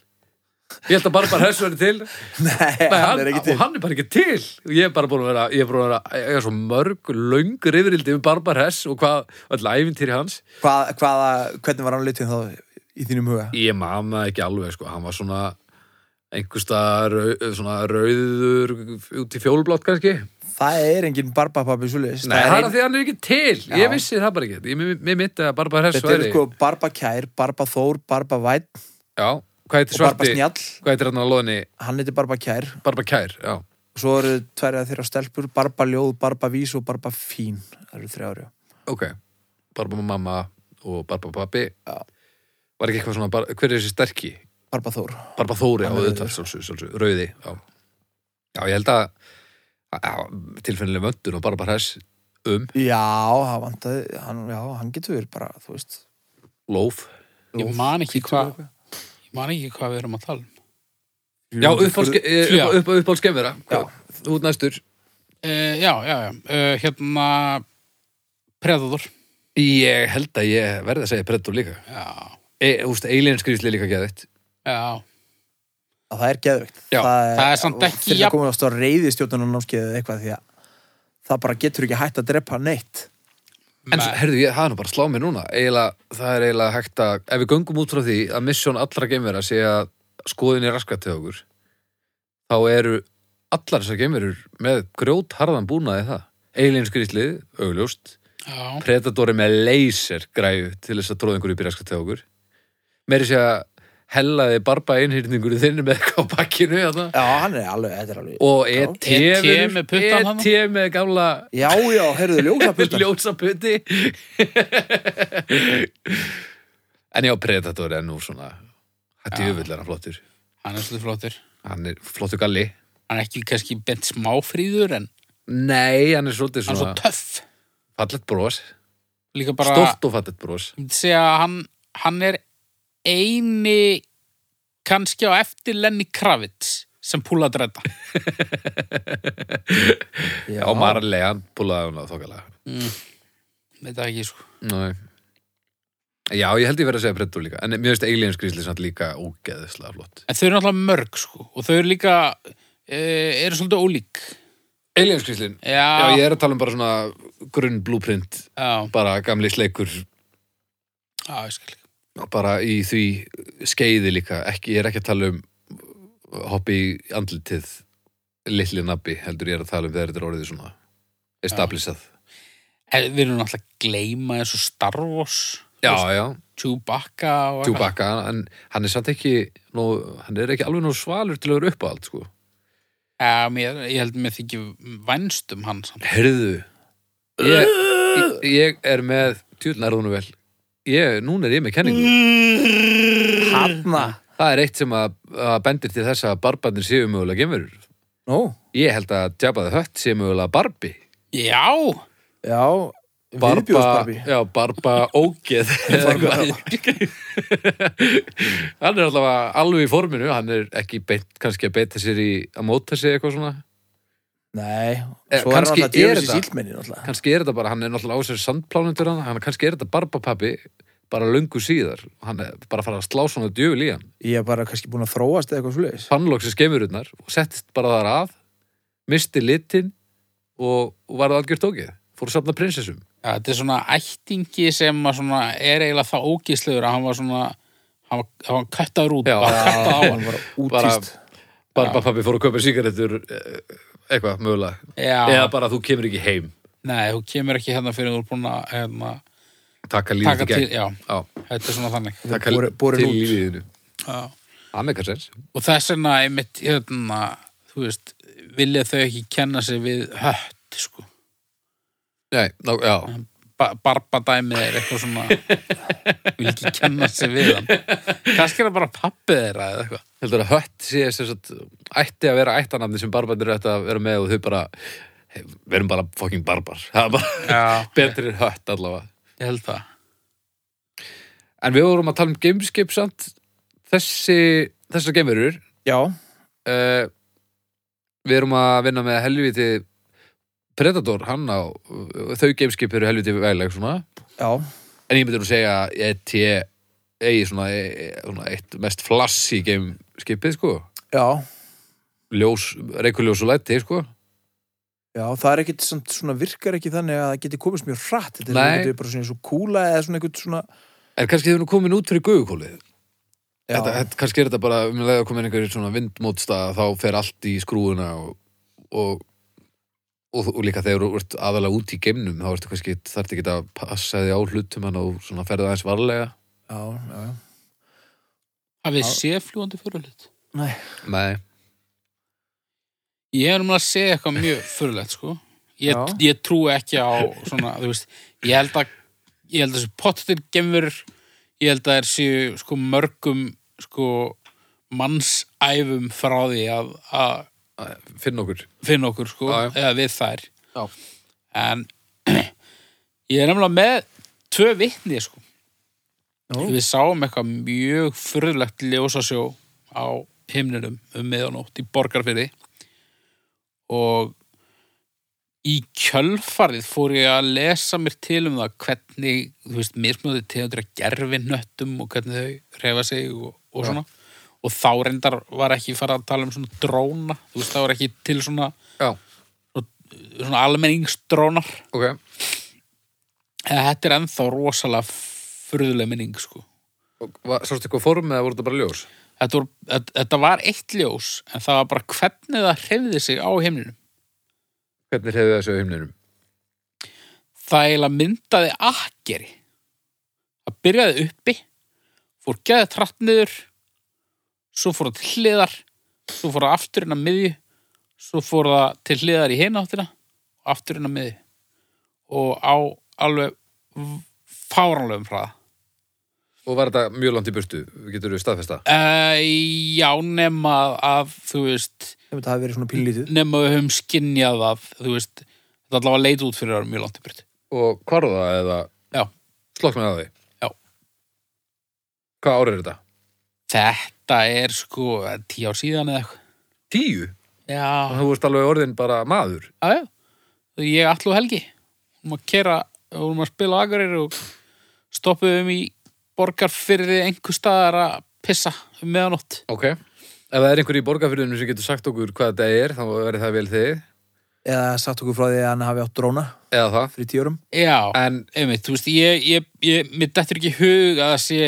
Speaker 1: Ég held að Barbar Hess verði til
Speaker 2: Nei,
Speaker 1: Nei,
Speaker 2: hann er ekki til
Speaker 1: Og hann er bara ekki til og ég er bara búin að vera, ég er búin að vera ég er svo mörg, löng rifrildi um Barbar Hess og hvað, öll æfintýri hans
Speaker 2: Hvað, hvaða, Hvernig var hann litið um þá í þínum huga?
Speaker 1: Ég man það ekki alveg, sko, hann var svona einhversta rau, eh, svona rauður út í fjólublátt kannski
Speaker 2: Það er engin barbapappi svoleiðis
Speaker 1: Nei,
Speaker 2: Það
Speaker 1: það er
Speaker 2: ein-
Speaker 1: að því að hann er ekki til
Speaker 2: Já.
Speaker 1: Ég vissi það bara ekki, ég, mér, mér mitt að Barba Hess
Speaker 2: Þetta eru
Speaker 1: væri
Speaker 2: sko barbakær, barbaþór, barbavætt
Speaker 1: Já, hvað heitir
Speaker 2: og
Speaker 1: svarti
Speaker 2: barbasnjall
Speaker 1: Hvað heitir hann á loðinni?
Speaker 2: Hann heitir barbakær
Speaker 1: Barba Kær, já
Speaker 2: Svo eru tverja þeirra stelpur, barbaljóð, barbavís og barbafín Það eru þrjá ári
Speaker 1: Ok, Barba mamma og Barba pappi
Speaker 2: Já.
Speaker 1: Var ekki eitthvað svona, bar, hver er þessi sterki?
Speaker 2: Barbaþór
Speaker 1: Barba Þóri á
Speaker 2: Hann er
Speaker 1: auðvitað, sjálfsög, sjálfsög, rauði Já, já ég held að, að tilfinnileg vöndun og Barba Hess um
Speaker 2: Já, hann vantaði, hann, já, hann getur verið bara, þú veist
Speaker 1: lóf
Speaker 3: Ég man ekki hvað ég man ekki hvað við erum að tala um.
Speaker 1: Já, uppáhalds- eh,
Speaker 3: Já.
Speaker 1: upp- upp- uppáhaldskemmera
Speaker 2: Já.
Speaker 1: Út næstur
Speaker 3: Uh, já, já, já. Uh, hérna Predator.
Speaker 1: Ég held að ég verði að segja Predator líka
Speaker 3: Já.
Speaker 1: e, Úst, Alien skrýsli líka geðið
Speaker 3: Já.
Speaker 2: að það er geðvögt
Speaker 1: Já,
Speaker 3: það er samt ekki
Speaker 2: Þegar
Speaker 3: jafn-
Speaker 2: það komið ást á reyðistjóttunum námskeið eða eitthvað því að það bara getur ekki hægt að drepa neitt
Speaker 1: En svo, herðu, ég, það er nú bara að slá mig núna eiginlega, það er eiginlega hægt að ef við göngum út frá því að misjón allra geimvera sé að skoðin er raskat til okkur þá eru allar þessar geimverur með grjót harðan búnaði það Alien skrýslið, augljóst
Speaker 3: Já.
Speaker 1: Predatori með laser græðu til þess að tróða einhverju upp í raskat til okkur meiri sé að hellaði barba einhyrningur í þinni með eitthvað á bakkinu þarna.
Speaker 2: Já, hann er alveg, þetta er alveg
Speaker 1: og ET
Speaker 3: ET
Speaker 1: verður-
Speaker 3: E með puttan þarna.
Speaker 1: ET með gamla
Speaker 2: Já, já, heyrðu, ljósapultan
Speaker 1: ljósaputti en já, Predator er nú svona þetta er jöfull er hann flottur
Speaker 3: Hann er svolítið flottur.
Speaker 1: hann er flottur galli
Speaker 3: Hann er ekki kannski bent smáfríður en
Speaker 1: nei, hann er svolítið
Speaker 3: hann er svo
Speaker 1: svona
Speaker 3: töff.
Speaker 1: fallet bros,
Speaker 3: Líka bara...
Speaker 1: stort og fallet bros
Speaker 3: Ég myndi segja að hann, hann er eini kannski á eftir Lenny Kravitz sem púla að dredda.
Speaker 1: já, já marlega, hann búlaði hún á þokkalega
Speaker 3: Veit það ekki, sko.
Speaker 1: Nei. já, ég held ég verið að segja Predator líka en mér veist Alien skrýsli samt líka ógeðislega flott
Speaker 3: En þau eru náttúrulega mörg, sko. Og þau eru líka, e, eru svolítið ólík.
Speaker 1: Alien skrýslin?
Speaker 3: Já,
Speaker 1: Já, ég er að tala um bara svona grunn blúprint,
Speaker 3: já,
Speaker 1: bara gamli sleikur
Speaker 3: já, ég skil.
Speaker 1: bara í því skeiði líka ekki, ég er ekki að tala um hoppi í andlitið litli nabbi, heldur ég er að tala um þegar þetta er orðið svona established
Speaker 3: En við erum náttúrulega að gleyma þessu Star Wars,
Speaker 1: Já, já,
Speaker 3: Chewbacca og eitthvað.
Speaker 1: Chewbacca en hann er samt ekki, nú, hann er ekki alveg nú svalur til að vera uppáhald, sko
Speaker 3: Já, mér, ég held mér þykir vænst um hann samt.
Speaker 1: Herðu Ég, ég- ég er með tjúlna er það nú vel ég, Núna er ég með kenningu
Speaker 2: Hanna
Speaker 1: Það er eitt sem að, að bendir til þess að barbarnir séu mögulega gemurur
Speaker 2: Nú,
Speaker 1: Ég held að Jabba the Hutt séu mögulega barbi
Speaker 3: Já,
Speaker 2: já,
Speaker 1: Barba,
Speaker 2: viðbjóðsbarbi
Speaker 1: já, barba ógeð eða eitthvað. hann er allavega alveg í forminu hann er ekki beint, kannski að beita sér í að móta sig eitthvað svona
Speaker 2: Nei,
Speaker 1: Eh,
Speaker 2: svo er
Speaker 1: kannski
Speaker 2: hann
Speaker 1: er
Speaker 2: alltaf djöfis í
Speaker 1: þetta-
Speaker 2: sílmenni náttúrulega
Speaker 1: kannski er þetta bara, hann er náttúrulega á sér sandplánundur hann, hann kannski er þetta barbapappi bara löngu síðar hann er bara að fara að slá svona djöful í hann
Speaker 2: Ég er bara kannski búin að þróast eða eitthvað svoleiðis.
Speaker 1: pannlóksi skemurutnar og settist bara þar að misti litin og, og varði algjör tókið fór að safna prinsessum
Speaker 3: Já, þetta er svona ættingi sem að svona er eiginlega það ógíslegur að hann var svona hann var, hann var köttaður út,
Speaker 1: Já.
Speaker 3: bara köttað á hann
Speaker 2: Hann var
Speaker 1: bara,
Speaker 2: útýst.
Speaker 1: barbapappi fór að köpa sigarettur eh, eitthvað mögulega
Speaker 3: Já,
Speaker 1: eða bara þú kemur ekki heim
Speaker 3: nei, þú kemur ekki hérna fyrir þú er búin að hérna,
Speaker 1: taka lífið
Speaker 3: taka
Speaker 1: í gegn
Speaker 3: til, já,
Speaker 1: Já,
Speaker 3: þetta er svona þannig
Speaker 1: taka
Speaker 2: Borin- borin
Speaker 1: til
Speaker 2: út.
Speaker 1: lífiðinu
Speaker 3: Já.
Speaker 1: Amerikasens
Speaker 3: og þess vegna einmitt hérna, þú veist, vilja þau ekki kenna sig við hött sko.
Speaker 1: Nei, ná, já,
Speaker 3: ba barbadæmið er eitthvað svona vil ekki kenna sig við hann kannski er það bara pappið þeirra eða eitthvað
Speaker 1: heldur að hött sé sem sagt, ætti að vera ættanamni sem barbarnir ætti að vera með og þau bara hey, verum bara fucking barbar það er bara
Speaker 3: Já,
Speaker 1: betri en hött allavega
Speaker 3: ég held það
Speaker 1: en við vorum að tala um gameskip samt þessi, þessar gamerur
Speaker 2: Já,
Speaker 1: uh, við erum að vinna með helviti Predator, hann á þau gameskip eru helviti vegleg svona
Speaker 2: já.
Speaker 1: en ég myndi nú segja að ET eigi svona, e, e- svona eitt mest flassi gameskipið sko
Speaker 2: Já,
Speaker 1: ljós, reikuljós og læti sko
Speaker 2: já, það er ekkit samt svona virkar ekki þannig að það geti komist mjög hratt. Þetta er
Speaker 1: Nei.
Speaker 2: einhvern veginn bara svona eins og kúla eða svona einhvern svona...
Speaker 1: En kannski þau nú komin út fyrir guðukólið
Speaker 2: Já,
Speaker 1: þetta, þetta, Kannski er þetta bara um leið að komin einhverjir svona vindmótstað þá fer allt í skrúuna og, og, og, og líka þegar þú ert aðalega út í geimnum þá ertu kannski þarf ekki að passa því á hlutum hann og svona ferða aðeins varlega
Speaker 2: já, já, já.
Speaker 3: hafið
Speaker 2: Já.
Speaker 3: þið séð fljúandi fyrirlit
Speaker 2: Nei.
Speaker 1: Nei,
Speaker 3: ég er um að segja eitthvað mjög fyrirlit sko. ég,
Speaker 2: Já.
Speaker 3: ég trúi ekki á svona, þú veist, ég held að ég held að þessi pottir gemur ég held að þeir séu sko mörgum sko mannsæfum frá því að, að
Speaker 1: finn okkur
Speaker 3: finna okkur sko,
Speaker 1: Já, já.
Speaker 3: eða við þær
Speaker 1: Já.
Speaker 3: en ég er nefnilega með tvö vitni sko.
Speaker 2: Nú.
Speaker 3: við sáum eitthvað mjög furðlegt ljósasjó á himninum um meðanótt í borgarfyrði og í kjölfarið fór ég að lesa mér til um það hvernig, þú veist, mismöðu tegundur að gerfi nöttum og hvernig þau reyfa sig og, og svona og þá reyndar var ekki fara að tala um svona dróna, þú veist, það var ekki til svona,
Speaker 1: Já,
Speaker 3: svona almenningsdrónar
Speaker 1: ok
Speaker 3: eða þetta er ennþá rosalega furðuleg minning, sko
Speaker 1: og, va- Sástu eitthvað form eða voru þetta bara ljós?
Speaker 3: þetta var, þetta, þetta var eitt ljós en það var bara hvernig það hreyfði sig á heimninum
Speaker 1: Hvernig hefði þessu á himninum?
Speaker 3: það eiginlega myndaði akkeri það byrjaði uppi fór geðið tratt niður svo fór það til hliðar svo fór það aftur inn að miðju svo fór það til hliðar í hináttina og aftur inn að miðju og á alveg v- fáránlegum hraða
Speaker 1: Og var þetta mjög langt í burtu? Getur við staðfesta?
Speaker 3: uh, já nema að, að þú veist
Speaker 2: Ef Þetta hafi verið svona pínlítið.
Speaker 3: nema við höfum skinjað að þú veist, þetta allavega leit út fyrir að vera mjög langt í byrtu.
Speaker 1: Og hvarða eða
Speaker 3: Já.
Speaker 1: Slokknaði það því?
Speaker 3: Já.
Speaker 1: Hvað ár er þetta?
Speaker 3: Þetta er sko eh, tíu ár síðan eða eitthvað.
Speaker 1: Tíu?
Speaker 3: Já.
Speaker 1: Þú veist alveg orðin bara maður
Speaker 3: Já, já. Ég allu helgi. Við erum að kera, við erum að spila agarir og stoppuðum í borgarfyrði einhver staðar að pissa um meðanótt.
Speaker 1: Ok. Ef það er einhver í borgarfyrðinu sem getur sagt okkur hvað þetta er, þá verður það vel þið,
Speaker 2: Eða sagt okkur frá því að hann hafi átt dróna
Speaker 1: eða það.
Speaker 2: fyrir tíu árum.
Speaker 3: Já,
Speaker 1: En,
Speaker 3: einmitt, þú veist, ég, ég, ég mér dettur ekki í hug að það sé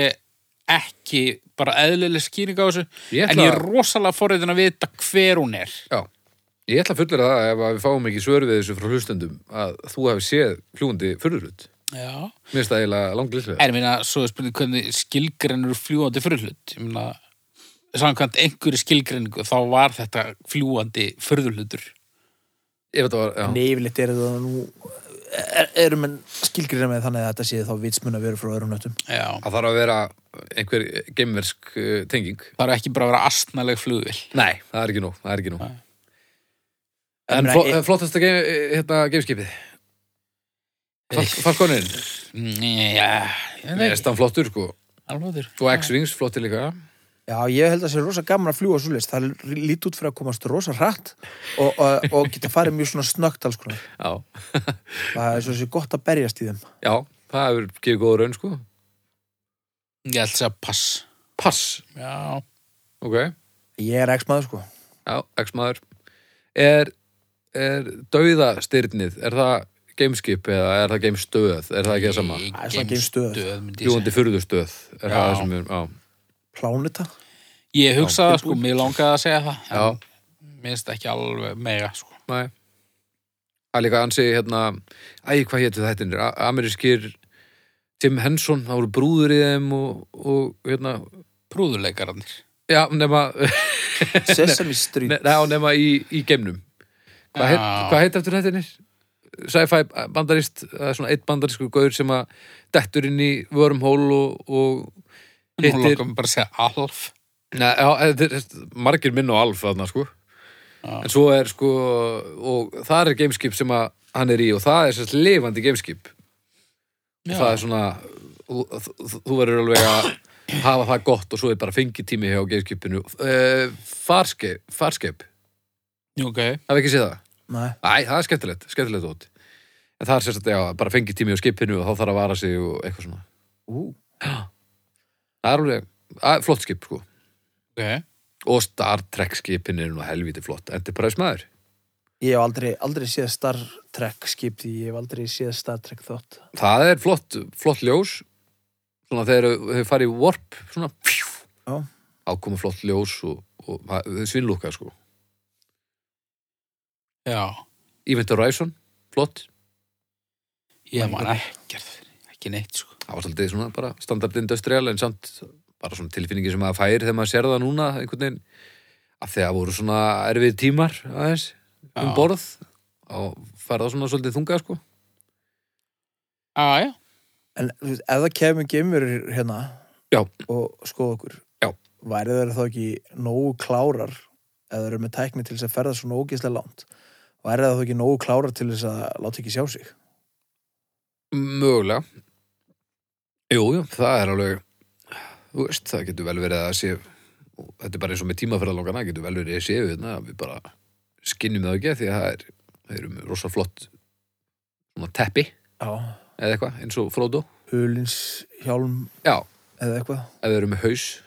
Speaker 3: ekki bara eðlileg skýring á þessu.
Speaker 1: Ég ætla-
Speaker 3: En ég er rosalega forriðin að vita hver hún er.
Speaker 1: já, ég ætla að fullera það ef að við fáum ekki svör við þessu frá hlustendum að þú hefur séð fljúandi fyrðurlut.
Speaker 3: Já.
Speaker 1: Mér finnst það eiginlega langlýslega.
Speaker 3: En ég meina, svo er spurning hvernig skilgreinur fljúandi furðulut. Ég meina, samkvæmt einhverju skilgreiningu, þá var þetta fljúandi furðulutur.
Speaker 1: Ef þetta var,
Speaker 2: En
Speaker 1: já,
Speaker 2: yfirleitt er þetta nú... Er, erum en skilgrina með þannig að þetta sé þá vitsmun að vera frá öðrum nöttum.
Speaker 3: Já.
Speaker 1: það þarf að vera einhver geimversk uh, tenging.
Speaker 3: Það er ekki bara að vera astnaleg flugvill.
Speaker 1: Nei, það er ekki nóg, það er ekki nóg.
Speaker 3: Nei.
Speaker 1: En
Speaker 2: Ég meina,
Speaker 1: fló,
Speaker 2: ég-
Speaker 1: flottasta geim, eh, hérna, geimskipið? Fal- Falconin,
Speaker 3: Já, ég
Speaker 1: mér finnst
Speaker 3: veit ekki.
Speaker 1: hann flottur sko.
Speaker 3: Alveg þurr.
Speaker 1: Og X-Wings flottir líka.
Speaker 2: Já, ég held að það sé rosa gaman að fljúa svoleiðist. Það lít út fyrir að komast rosa hratt og, og, og geta farið mjög svona snöggt alls konar.
Speaker 1: Já.
Speaker 2: Það er svo sé gott að berjast í þeim.
Speaker 1: Já, það hefur gefið góða raun sko
Speaker 3: Ég ætla að segja pass.
Speaker 1: Pass.
Speaker 3: Já.
Speaker 1: Ok.
Speaker 2: Ég er x-maður sko
Speaker 1: Já, X-maður. Er, er dauðastyrnið, er það gameskip eða er það gamestöð? Er það ekki það sama?
Speaker 2: Það er svona geimstöð.
Speaker 3: Geimstöð, myndi ég
Speaker 1: Ljúandi
Speaker 3: segja.
Speaker 1: furðustöð. Er það
Speaker 3: Já.
Speaker 1: það sem við, já.
Speaker 2: Pláneta
Speaker 3: Ég hugsaði það, sko, mér langaði að segja það.
Speaker 1: Já.
Speaker 3: en Minnst ekki alveg mega, sko.
Speaker 1: Nei. Það er líka ansi hérna, æg, hvað hétu þetta? Amerískir Tim Henson, það voru brúður í þeim og, og hérna,
Speaker 3: Prúðuleikararnir.
Speaker 1: já, nema,
Speaker 2: Sesame Street
Speaker 1: ne, já, nema í, í geimnum. Hvað heit,
Speaker 3: Já.
Speaker 1: hvað heit eftir þetta? Sci-fi bandarist, það er svona eitt bandariskur gaur sem að dettur inn í vörumhól og, og
Speaker 3: Nú
Speaker 1: hittir,
Speaker 3: langaði bara að segja Alf.
Speaker 1: Nei, já, þetta er margir minn og alf þarna, sko. En svo er, sko, og það er gameskip sem að hann er í og það er sérst lifandi gameskip. Og
Speaker 3: Já.
Speaker 1: Það er svona, þú, þú- þú verður alveg að hafa það gott og svo er bara fengitími hjá gameskipinu. Uh, farskip, farskip,
Speaker 3: Ok.
Speaker 1: hafði ekki séð það?
Speaker 2: Nei,
Speaker 1: Æ, það er skemmtilegt, skemmtilegt út. En það er sérst að, já, bara fengitími á skipinu og þá þarf að vara sig og eitthvað svona.
Speaker 2: ú,
Speaker 1: Það er alveg, að, flott skip, sko.
Speaker 3: Ok.
Speaker 1: Og Star Trek skipin er nú helviti flott. Enterprise maður.
Speaker 2: ég hef aldrei, aldrei séð Star Trek skip því ég hef aldrei séð Star Trek þótt
Speaker 1: það er flott, flott ljós svona þegar þau farið í warp svona pjú,
Speaker 2: Já.
Speaker 1: ákomi flott ljós og, og það- þau svinnlúka sko
Speaker 3: Já.
Speaker 1: Event Horizon, flott
Speaker 3: Ég man ekkert. fyrir- Ekki neitt, sko.
Speaker 1: það var svolítið svona bara standard industrial en samt bara svona tilfinningi sem maður fær þegar maður sér það núna einhvern veginn að þegar voru svona erfið tímar aðeins, um
Speaker 3: Já.
Speaker 1: borð og fær það svona svolítið þunga sko
Speaker 3: Ah, Já, já.
Speaker 2: En þú veist, ef það kemur geimur hérna
Speaker 1: Já.
Speaker 2: og skoða okkur
Speaker 1: Já.
Speaker 2: væri þeir þá ekki nógu klárar ef þeir eru með tækni til þess að ferða svona ógeðslega langt væri það þá ekki nógu klárar til þess að láta ekki sjá sig
Speaker 1: Mögulega Jú, jú, það er alveg þú veist, það getur vel verið að sé og þetta er bara eins og með tímaferðalókana getur vel verið að sé við þetta við bara skinnum það ekki því að það er það eru með rosa flott svona teppi
Speaker 2: Já.
Speaker 1: eða eitthvað, eins og Frodo
Speaker 2: Hulins hjálm
Speaker 1: Já,
Speaker 2: eða eitthvað
Speaker 1: eða við erum með haus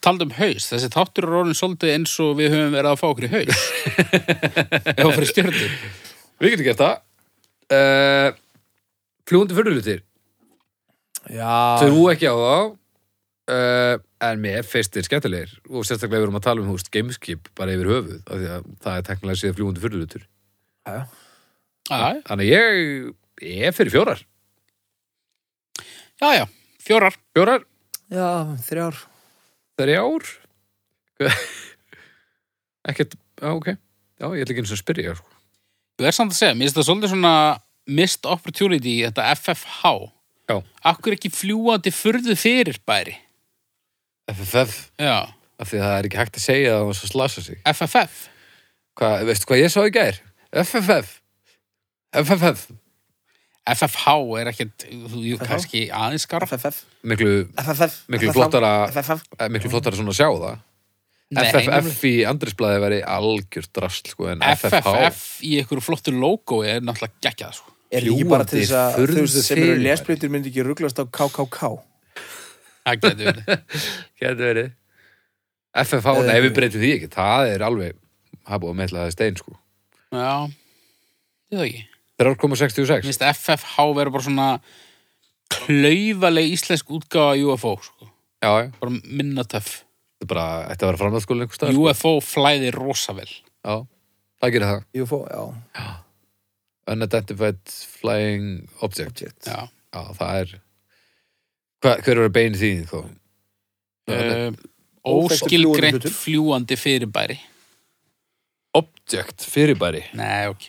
Speaker 3: Taldum um haus. Þessi þáttur er orðin svolítið eins og við höfum verið að fá okkur í haus. Já, fyrir stjörnir.
Speaker 1: Við getum gert það uh, Fljúandi fyrirlutir Þau
Speaker 2: Já,
Speaker 1: eru ekki á þá uh, en mér finnst þeir skemmtilegir og sérstaklega við erum að tala um húst gameskip bara yfir höfuð, af því að það er teknilega séð fljúandi fyrirlutur
Speaker 2: já,
Speaker 3: Já,
Speaker 1: Þannig að ég, ég er fyrir fjórar.
Speaker 3: já, já. Fjórar.
Speaker 1: Fjórar,
Speaker 2: já, þrjár
Speaker 1: þrjár. Ekkert, já, ok. Já, ég ætla ekki eins og að spyrja, sko.
Speaker 3: Þú er samt að segja, mér finnst það svolítið svona missed opportunity, í þetta FFH.
Speaker 1: Já.
Speaker 3: Akkur ekki fljúandi furðu fyrirbæri.
Speaker 1: FFF,
Speaker 3: Já.
Speaker 1: af því að það er ekki hægt að segja það og svo slasa sig.
Speaker 3: FFF.
Speaker 1: Hva, veistu hvað ég sá í gær? FFF. FFF.
Speaker 3: FFH er ekkert, þú jú,
Speaker 2: FFH?
Speaker 3: kannski aðeins skarf.
Speaker 2: FFF
Speaker 1: Miklu,
Speaker 2: FFF
Speaker 1: Miklu
Speaker 2: FFF,
Speaker 1: flottara-
Speaker 2: FFF
Speaker 1: eh, miklu flottar að svona sjá það.
Speaker 3: Nei, nefnilega.
Speaker 1: FFF í andrisblæði veri algjör drast, sko, en FFH.
Speaker 3: FFF í einhverju flottu logo er náttúrulega geggjað, sko.
Speaker 2: Er ekki bara til
Speaker 1: Fljúgandi
Speaker 2: þess að
Speaker 1: furðu
Speaker 2: þú veist, sem eru
Speaker 1: fyrirbæri.
Speaker 2: lesblindir myndi ekki rugglast á KKK
Speaker 3: Það getur verið.
Speaker 1: Getur verið. FFH,
Speaker 2: Eða
Speaker 1: nei,
Speaker 2: ekki.
Speaker 1: við breytum því ekki. Það er alveg, það er búið að meðla það í stein, sko.
Speaker 3: Já, ég það ekki.
Speaker 1: 3,66.
Speaker 3: Mér finnst FFH verið bara svona klaufaleg íslensk útgáfa UFO, sko.
Speaker 1: Já, já.
Speaker 3: Bara minna töff.
Speaker 1: Þetta er bara, þetta var framhaldsskóla einhvers staðar. sko.
Speaker 3: UFO flæði rosa vel.
Speaker 1: Já, það gerir það.
Speaker 2: UFO, já,
Speaker 1: Unidentified Flying Object.
Speaker 2: object
Speaker 3: Já.
Speaker 1: Já, það er... Hva, hver er bein þín þó? Uh,
Speaker 3: uh,
Speaker 2: Óþekktur fljúgandi
Speaker 3: óskilgreint
Speaker 2: hlutur.
Speaker 3: fljúandi fyrirbæri
Speaker 1: object, fyrirbæri.
Speaker 3: Nei, ok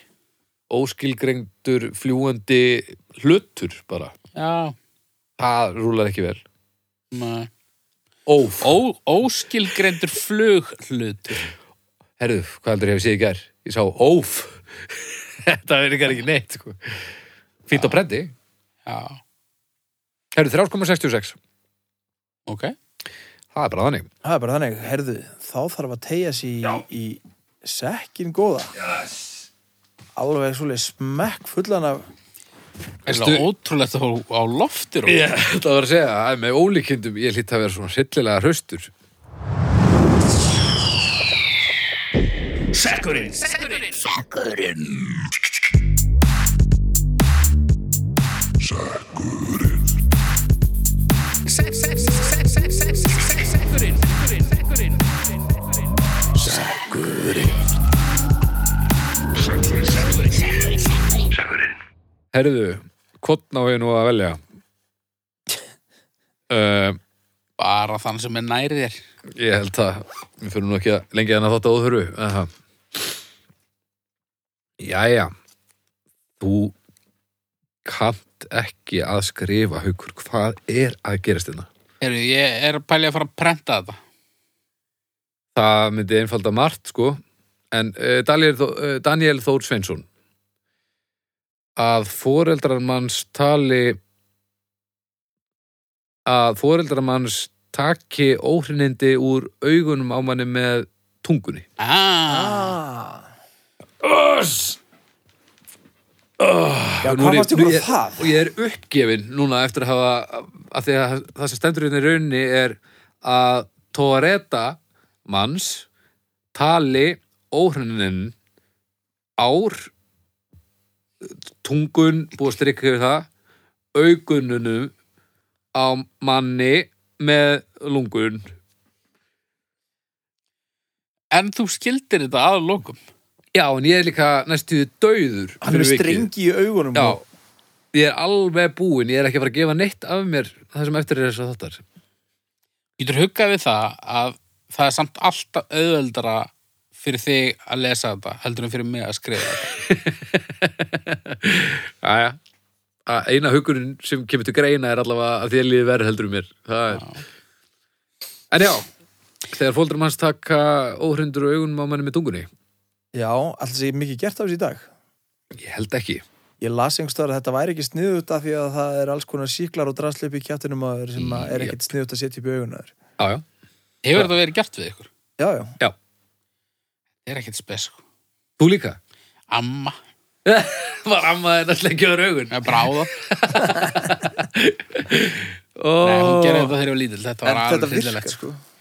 Speaker 1: Óskilgrengdur fljúandi hlutur bara.
Speaker 3: Já,
Speaker 1: Það rúlar ekki vel.
Speaker 3: nei.
Speaker 1: Óf.
Speaker 3: Ó, óskilgreindur flughlutur
Speaker 1: Herðu, hvað heldur ég hef séð í gær? Ég sá óf. þetta er ykkar ekki neitt, sko. Fýnt á brendi.
Speaker 3: Já,
Speaker 1: Herðu, 3,66.
Speaker 3: ok
Speaker 1: Það er bara þannig.
Speaker 2: Það er bara þannig, herðu, þá þarf að tegja sér í, í sekkin góða. Yes. Alveg svolítið smekk fullan af
Speaker 3: Eistu...
Speaker 1: Veistu-
Speaker 3: Ótrúlegt að fá á loftir og...
Speaker 1: Ég, þetta var að segja, að með ólíkindum ég hlýtt að vera svona hryllilega hraustur. Herðu, hvort ná ég nú að velja? Uh,
Speaker 3: Bara þann sem er nærið þér.
Speaker 1: ég held að, við fyrir nú ekki að lengja þennan þátt að óþörfu. Uh, jæja, þú kannt ekki að skrifa, haukur, hvað er að gerast hérna? þetta?
Speaker 3: Heru, ég er að pælja að fara að prenta þetta.
Speaker 1: Það myndi einfalda margt, sko. En uh, Daniel, Þó- eh, Daniel Þór Sveinsson, að foreldrarmanns tali að foreldrarmanns taki óhrinindi úr augunum á manni með tungunni.
Speaker 3: Ah,
Speaker 2: Ah,
Speaker 1: Öss!
Speaker 2: já, hvað varst ykkur á það?
Speaker 1: Og ég er uppgefin núna eftir að hafa að því að það sem stendur hérna í rauninni er að Toreta manns tali óhrennin ár tungun búið að strikka yfir það augununum á manni með lungun
Speaker 3: en þú skildir þetta að lokum.
Speaker 1: Já, en ég er líka næstuði dauður
Speaker 2: Hann er
Speaker 1: fyrir vikið.
Speaker 2: strengi í augunum
Speaker 1: Já,
Speaker 2: og-
Speaker 1: ég er alveg búinn, ég er ekki að fara að gefa neitt af mér það sem eftir er þess að þáttar.
Speaker 3: Getur huggað við það að það er samt alltaf auðveldara fyrir þig að lesa þetta heldur en fyrir mig að skrifa þetta.
Speaker 1: Jæja. Að Eina hugurinn sem kemur til greina er allavega að þér líði verð heldur um mér. Það er... En já, þegar fóldur manns taka óhrindur og augunum á manni með tungunni,
Speaker 2: Já, alltaf sé mikið gert af þessu í dag
Speaker 1: ég held ekki.
Speaker 2: Ég las einhverstaðar að þetta væri ekki sniðut af því að það er alls konar síklar og drasli upp í kjáttinum að þeir sem að er ekkit sniðut að setja upp í augunar
Speaker 1: Já, já.
Speaker 3: Hefur þetta verið gert við ykkur?
Speaker 2: Já, já,
Speaker 1: Já,
Speaker 3: Það er ekkert spes. sko.
Speaker 1: þú líka.
Speaker 3: Amma,
Speaker 1: Var ammaðið að slengja þér augun.
Speaker 3: með bráða.
Speaker 1: Ó,
Speaker 3: Nei, hún gerði þetta þegar ég var lítil. Þetta var
Speaker 2: en
Speaker 3: alveg
Speaker 2: þetta
Speaker 3: fyrirlegt.
Speaker 2: virkar
Speaker 3: Sko.
Speaker 2: sko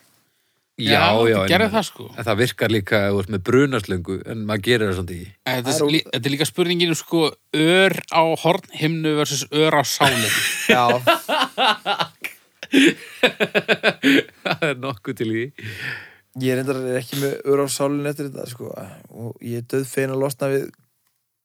Speaker 1: Já, já.
Speaker 3: þetta
Speaker 1: en-
Speaker 3: gerði það, sko.
Speaker 1: En það virkar líka ef þú ert með brunaslöngu, en maður gerir það samt í.
Speaker 3: En Eh, Þetta
Speaker 2: Það
Speaker 3: er,
Speaker 2: er
Speaker 3: lí-
Speaker 2: ól-
Speaker 3: þetta er líka spurningin um sko ör á hornhimnu versus ör á sálinu.
Speaker 2: Já,
Speaker 1: Það er nokkuð til í.
Speaker 2: ég reyndar er ekki með ör á sálinn eftir þetta sko og ég er döð fein að losna við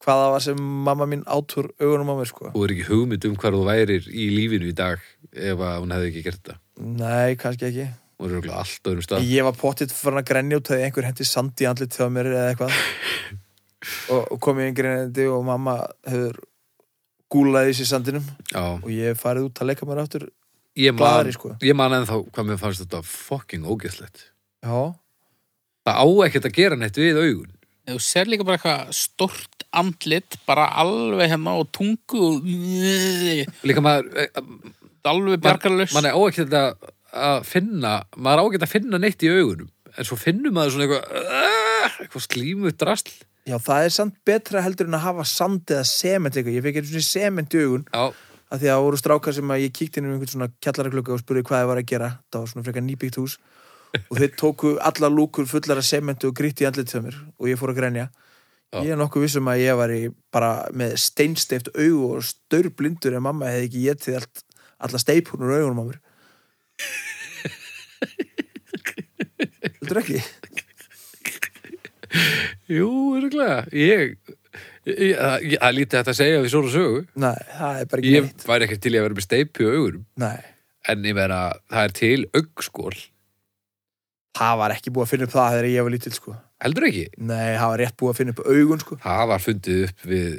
Speaker 2: hvað það var sem mamma mín átúr augunum á mér sko
Speaker 1: Þú er ekki hugmynd um hvar þú værir í lífinu í dag ef að hún hefði ekki gert það.
Speaker 2: Nei, kannski ekki
Speaker 1: Hún er örugglega allt öðrum stað.
Speaker 2: Ég var pottitt fyrir að grenja út að einhver hendi sandi í andlit þegar mér eða eitthvað og, og kom ég eingreinandi og mamma hefur gúlaði sér sandinum
Speaker 1: Já.
Speaker 2: og ég hef farið út að leika mér aftur
Speaker 1: Ég man,
Speaker 2: Blaðri, sko.
Speaker 1: ég man ennþá hvað mér fannst þetta fucking ógeðslegt.
Speaker 2: Já,
Speaker 1: Það á ekkert að gera neitt við augun.
Speaker 3: Þú ser líka bara eitthvað stort andlit, bara alveg hérna og tungu og
Speaker 1: Líka maður, eh,
Speaker 3: alveg bjargarlaus.
Speaker 1: maður er á ekkert að, að finna, maður á ekkert að finna neitt í augunum. En svo finnur maður svona eitthvað, eh, eitthvað slímu drasl.
Speaker 2: já, það er samt betra heldur en að hafa sand eða sement eitthvað Ég fekk eitthvað sement í augun
Speaker 1: Já,
Speaker 2: að því að það voru strákar sem að ég kíkti inn um einhvern svona kjallaraklöka og spurði hvað það var að gera það var svona frekar nýbyggt hús og þeir tóku alla lúkur fullar af sementu og grýtti í andlit hjá mér og ég fór að grenja
Speaker 1: Já.
Speaker 2: ég er nokkuð vissum að ég var í bara með steinsteift augu og staurblindur en mamma hefði ekki getið allt, alla steipunur augunum á mér Heldur ekki?
Speaker 1: jú, örgulega. Ég, ég, það- ég, það er lítið hægt að segja við svona sögu.
Speaker 2: Nei, það er bara ekki
Speaker 1: Ég
Speaker 2: neitt
Speaker 1: væri ekkert til í að vera með steipu í augunum.
Speaker 2: Nei,
Speaker 1: en ég meina, það er til augskól
Speaker 2: það var ekki búið að finna upp það þegar ég var lítil sko
Speaker 1: heldur ekki,
Speaker 2: Nei, það var rétt búið að finna upp augun sko
Speaker 1: það var fundið upp við,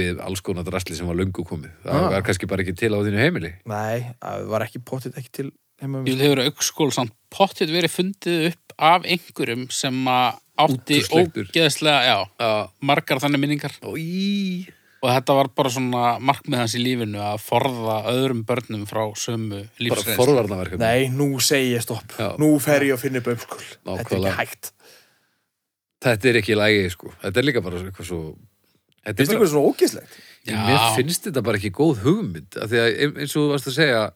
Speaker 1: við alls konar drasli sem var löngu komið, það
Speaker 2: Ah.
Speaker 1: var kannski bara ekki til á þínu heimili
Speaker 2: Nei, það var ekki pottit ekki til heima
Speaker 3: Ég vil hefur aukskóla samt pottit verið fundið upp af einhverjum sem að átti
Speaker 1: Útúrsleipur.
Speaker 3: ógeðslega, já,
Speaker 1: Já.
Speaker 3: margar þannig minningar.
Speaker 1: og í
Speaker 3: Og þetta var bara svona markmið hans í lífinu að forða öðrum börnum frá sömu
Speaker 1: bara
Speaker 3: lífsreins.
Speaker 1: forvarnarverkefni
Speaker 2: Nei, nú segi ég stopp
Speaker 1: Já.
Speaker 2: Nú fer ég að finna upp ömskul Þetta er
Speaker 1: Nákvæmlega.
Speaker 2: ekki hægt
Speaker 1: þetta er ekki lægi, sko þetta er líka bara eitthvað svo Þetta
Speaker 2: finnst
Speaker 1: er
Speaker 2: ykkur
Speaker 1: bara,
Speaker 2: svona ógeðslegt
Speaker 1: mér
Speaker 3: Já.
Speaker 1: finnst þetta bara ekki góð hugmynd af því að ein- eins og þú varst að segja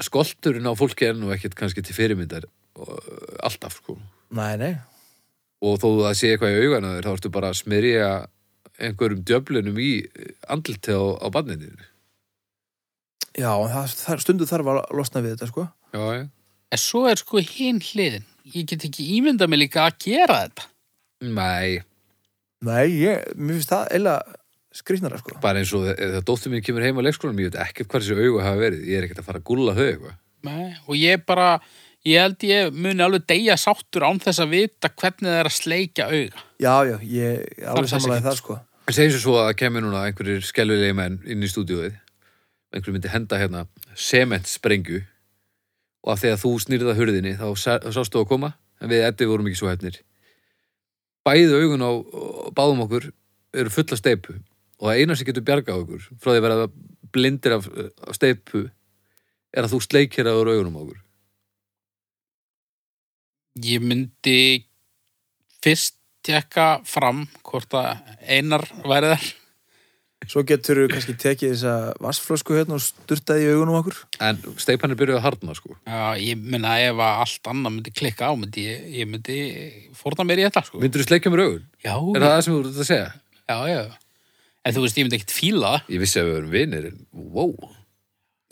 Speaker 1: skolturinn á fólki er nú ekkert kannski til fyrirmyndar og, alltaf sko
Speaker 2: nei, nei,
Speaker 1: og þó það sé eitthvað í augana þér þá ertu bara að smyrja einhverjum djöflunum í andlit á, á barnininu
Speaker 2: já, en það, það, stundu þarf að losna við þetta sko
Speaker 1: já, já.
Speaker 3: En svo er sko hinn hliðin. Ég get ekki ímyndað mig líka að gera þetta.
Speaker 1: nei,
Speaker 2: nei, ég, mér finnst það eila skrýtnara sko
Speaker 1: bara eins og þe- þegar dóttur mín kemur heim á leikskólanum, ég veit ekkert hvað þessi augu hafa verið ég er ekkert að fara að gulla þau eitthvað
Speaker 3: Nei. Og ég bara, ég held ég muni alveg deyja sáttur án þess að vita hvernig það er að sleikja auga.
Speaker 2: já, já, ég er alveg
Speaker 3: þess
Speaker 2: samanlega
Speaker 3: ekki.
Speaker 2: það sko
Speaker 1: en segjum svo að það kemur núna einhverjir skelvilegi menn inn í stúdíóið einhverjum myndi henda hérna sementsprengju og af því að þú snýrða hurðinni þá sa- þá sástu að koma en við eddi vorum ekki svo hefnir bæði augun á á báðum okkur eru fulla steipu og það eina sem getur bjargað okkur frá því að vera blindir af, af steipu er að þú sleikir að vera augunum á okkur
Speaker 3: Ég myndi fyrst tekka fram hvort að einar væri þar.
Speaker 2: svo getur þú kannski tekið þessa vassflösku hérna og sturtaði í augunum okkur
Speaker 1: en steipan er byrjuð að harðna sko
Speaker 3: Já, ég myndi ef að allt annað myndi klikka á, myndi ég, ég myndi fórna mér í þetta, sko.
Speaker 1: myndir þú sleikja mér augun?
Speaker 3: Já,
Speaker 1: Er það það sem þú ert að segja?
Speaker 3: já, já. En þú veist, ég myndi ekkit fíla það.
Speaker 1: Ég vissi að við erum vinir en wow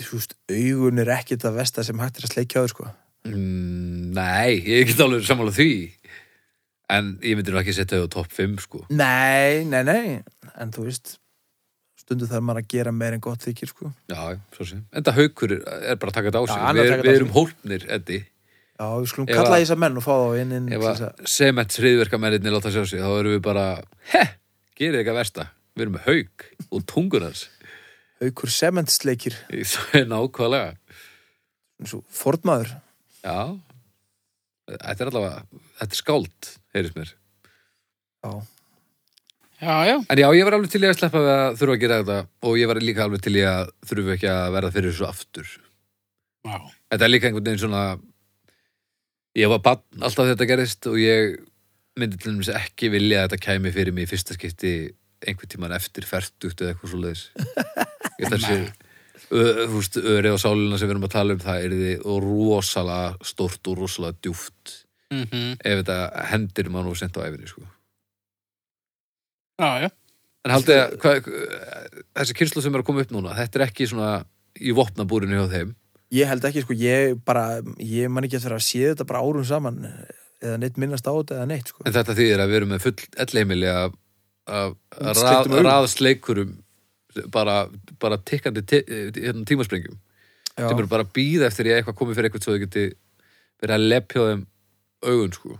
Speaker 2: þú veist, augun er ekkit að vesta sem hægt er að sleikja á þér sko
Speaker 1: Mm, nei, ég er ekki alveg sammála því En ég myndi nú ekki setja þau á topp 5 sko
Speaker 2: nei, nei, nei, en þú veist stundu þarf maður að gera meir en gott þykir sko
Speaker 1: Já, já, svo sem Enda haukur er, er bara að taka þetta á
Speaker 2: Já,
Speaker 1: sig
Speaker 2: hann
Speaker 1: Við,
Speaker 2: er að
Speaker 1: er,
Speaker 2: taka
Speaker 1: við
Speaker 2: þetta á
Speaker 1: erum hólpnir, Eddi
Speaker 2: já, við skulum
Speaker 1: Ef
Speaker 2: kalla
Speaker 1: að-
Speaker 2: því þess menn og fá þá inn, inn
Speaker 1: Ef
Speaker 2: til Mm, þess að
Speaker 1: að semett hriðverkamennirni láta sjá sig Þá erum við bara, he, gerir eitthvað versta Við erum með hauk og tungur hans
Speaker 2: aukur sementsleikir
Speaker 1: Það er nákvæmlega
Speaker 2: eins og fornmaður
Speaker 1: Já Þetta er allavega, þetta er skáld, heyrðis mér
Speaker 2: já,
Speaker 3: Já, já.
Speaker 1: En já, ég var alveg til í að sleppa við að þurfa að gera þetta og ég var líka alveg til í að þurfa ekki að verða fyrir þessu aftur
Speaker 3: Já,
Speaker 1: þetta er líka einhvern veginn svona ég var bann alltaf þetta gerðist og ég myndi til dæmis ekki vilja að þetta kæmi fyrir mig í fyrsta skipti einhvern tíman eftir fertugt eða eitthvað svo leiðis þessi ö- þú veist, örið á sálina sem við erum að tala um það er þið rosalega stort og rosalega djúft
Speaker 3: mm
Speaker 1: ef þetta hendir mann og sent á æfinni sko.
Speaker 3: já, já.
Speaker 1: en haldið að hvað, þessi kynslu sem er að koma upp núna þetta er ekki svona í vopnabúrinu hjá þeim
Speaker 2: ég held ekki sko ég bara, ég man ekki að vera að sé þetta bara árum saman eða neitt minnast á þetta eða neitt sko
Speaker 1: En þetta þýðir að við erum með full ellheimili af, af rað,
Speaker 2: Sleiktum augum.
Speaker 1: raðsleikurum bara, bara tikkandi ti- hérna, tímasprengjum
Speaker 2: já,
Speaker 1: sem eru bara að býða eftir ég eitthvað komið fyrir eitthvað svo þau geti verið að lepja á þeim augun sko.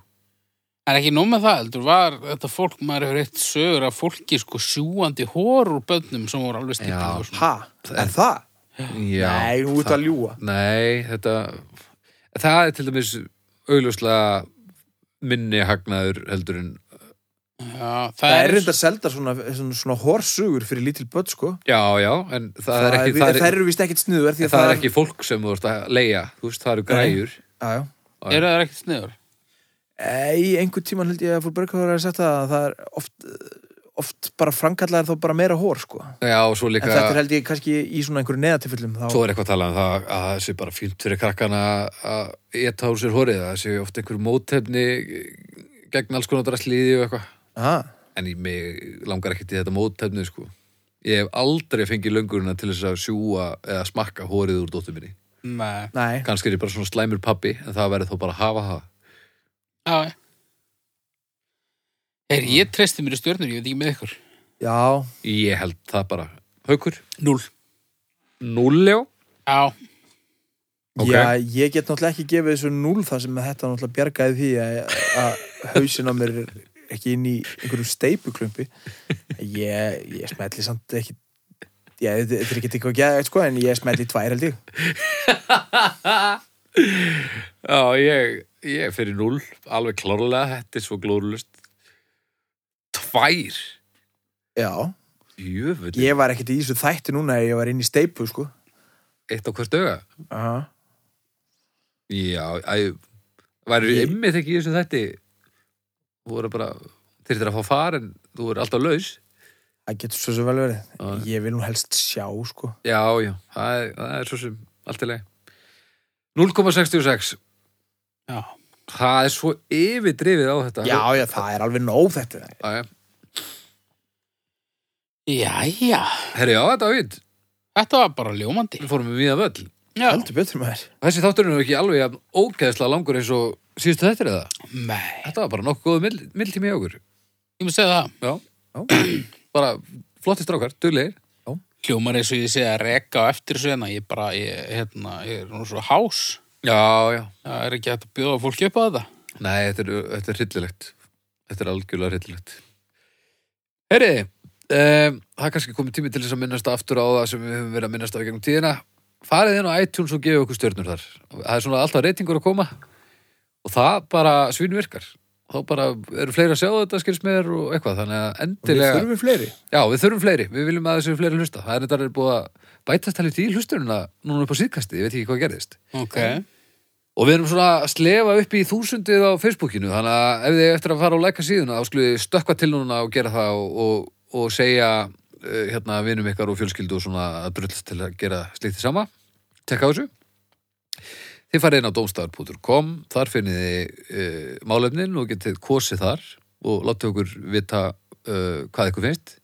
Speaker 3: En ekki nóg með það, heldur, var þetta fólk, maður hefur eitt sögur að fólki sko sjúandi hór úr bönnum sem voru alveg sko.
Speaker 1: Já.
Speaker 3: stikkið.
Speaker 2: ha, er það?
Speaker 1: Já,
Speaker 2: nei, nú ert
Speaker 1: það-
Speaker 2: að ljúa
Speaker 1: Nei, þetta það er til dæmis augljóslega minni hagnaður heldur en
Speaker 3: Já, það,
Speaker 2: það er
Speaker 3: eins-
Speaker 2: reyndar seldar svona, svona, svona horsugur fyrir lítil börn sko
Speaker 1: Já, já, en það, er ekki
Speaker 2: það,
Speaker 1: það
Speaker 2: er,
Speaker 1: er,
Speaker 2: þær eru víst ekkit sniður
Speaker 1: það er ekki fólk sem þú ert að leia, þú veist, það eru græjur
Speaker 2: já, já
Speaker 3: eru það ekki sniður?
Speaker 2: Eh, Í einhvern tíman held ég að fór Berghóður að setja að það er oft, oft bara framkallaðar þá bara meira hór sko. En
Speaker 1: Já, og svo líka
Speaker 2: þetta er held ég kannski í svona einhverju neðatilfellum þá...
Speaker 1: Svo er eitthvað að tala um það að það sé bara fínt fyrir krakkana að éta úr sér horið, það sé ofta einhver mótefni gegn alls konar drastliði og eitthvað.
Speaker 2: Ah,
Speaker 1: En ég mig langar ekkert í þetta mótefni, sko. Ég hef aldrei fengið löngurina til þess að sjúa eða smakka horið úr dóttur minni.
Speaker 3: Nei.
Speaker 2: Nei,
Speaker 1: Kannski er ég bara svona slæmur pappi, en það verður þó bara að hafa það.
Speaker 3: Já, já. Er ég treysti mér í stjörnur, ég veit ekki með ykkur.
Speaker 2: já,
Speaker 1: Ég held það bara. Haukur?
Speaker 3: Núl.
Speaker 1: Núljó?
Speaker 3: Já,
Speaker 1: Ok.
Speaker 2: já, ég get náttúrulega ekki gefið þessu núl þar sem að þetta náttúrulega bjargaði því að, að hausin á mér er ekki inn í einhverju steipuklumpi ég, ég smelli samt ekki Já, þetta þetta er ekki eitthvað geðið, sko, en ég smelli tvær held ég.
Speaker 1: Já, ég, ég er fyrir núl, alveg klárlega, þetta er svo glórulust. Tvær?
Speaker 2: Já,
Speaker 1: Jöfull.
Speaker 2: ég var ekkert í þessu þætti núna ef ég var inn í steipu, sko.
Speaker 1: Eitt á hvert auga?
Speaker 2: Aha.
Speaker 1: Já, æ, væri
Speaker 2: Ég-
Speaker 1: ymmið ekki í þessu þætti Þú voru bara, þeir þér að fá far en þú voru alltaf laus
Speaker 2: það getur svo sem vel verið
Speaker 1: Já.
Speaker 2: ég vil nú helst sjá sko
Speaker 1: Já, já, það er, það er svo sem allt í lagi 0,66
Speaker 3: Já.
Speaker 1: Það er svo yfirdrifið á þetta
Speaker 2: já já það er alveg nóg þetta
Speaker 1: Jæja.
Speaker 3: Jæja,
Speaker 1: Herri, já, þetta var við
Speaker 3: þetta var bara ljómandi.
Speaker 1: Við fórum við að völl
Speaker 3: Já.
Speaker 2: heldur betur maður
Speaker 1: Þessi þátturinn er ekki alveg jafn ógeðslega langur eins og síðustu þetta er það
Speaker 3: Nei,
Speaker 1: Þetta var bara nokkuð góð mill, milltími í okkur
Speaker 3: ég maður segja það.
Speaker 1: Já, já. bara flotti strákar, duglegir
Speaker 3: Hljómar eins og ég segja að reka á eftir þessu hérna. Ég bara, ég, hérna, ég er nú svo hás.
Speaker 1: Já, já
Speaker 3: Það er ekki hægt að bjóða fólki upp á þetta.
Speaker 1: Nei, þetta er, þetta er hryllilegt Þetta er algjörlega hryllilegt Heyri, um, það er kannski komið tími til þess að minnast aftur á það sem við höfum verið að minnast á í gegnum tíðina Farið inn á iTunes og gefið okkur stjörnur þar Það er svona alltaf reytingur að koma og það bara svínvirkar þá bara eru fleiri að sjá þetta skilst mér og eitthvað, þannig að
Speaker 2: við
Speaker 1: endilega
Speaker 2: þurfum fleiri
Speaker 1: Já, við þurfum fleiri, við viljum að þessu fleiri hlusta Það er þetta er búið að bætast talið til hlustununa núna upp á síðkasti, ég veit ekki hvað gerðist
Speaker 3: Ok.
Speaker 1: Og við erum svona að slefa upp í þúsundið á Facebookinu, þannig að ef þið eigið eftir að fara og læka síðuna, þá skulle þið stökkva til núna og gera það og, og, og segja eh, hérna vinum ykkar og fjölskyldu og svona að drullast til að gera slíkt því sama. Tekka á þessu. Þið farið inn á domstafar.com, þar finnið þið uh, málefnin og getið kosið þar og látið okkur vita uh, hvað ykkur finnst.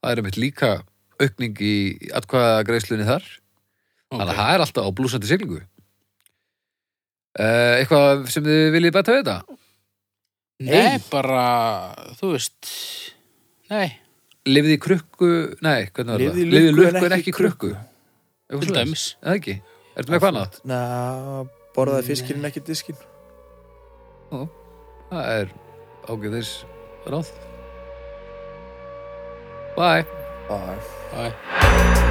Speaker 1: Það er einmitt líka aukning í atkvæða þar. Þannig að
Speaker 3: okay.
Speaker 1: það er alltaf á blúsandi siglingu. Uh, eitthvað sem þið viljið bæta við þetta?
Speaker 3: Nei, bara, þú veist, nei,
Speaker 1: Lifið í krukku, nei, hvernig var
Speaker 2: Lifið
Speaker 1: það?
Speaker 2: í
Speaker 1: Lifið í
Speaker 2: lukku en
Speaker 1: lukku en
Speaker 2: ekki
Speaker 1: ekki í krukku. Eitthvað
Speaker 3: til
Speaker 1: svoleiðis.
Speaker 3: dæmis.
Speaker 1: Eða ekki? Ertu með hvað annað?
Speaker 2: na borðaði fiskirinn ekki diskin
Speaker 1: Það er ágæðis ráð. Bye.
Speaker 2: Bye.
Speaker 3: Æ.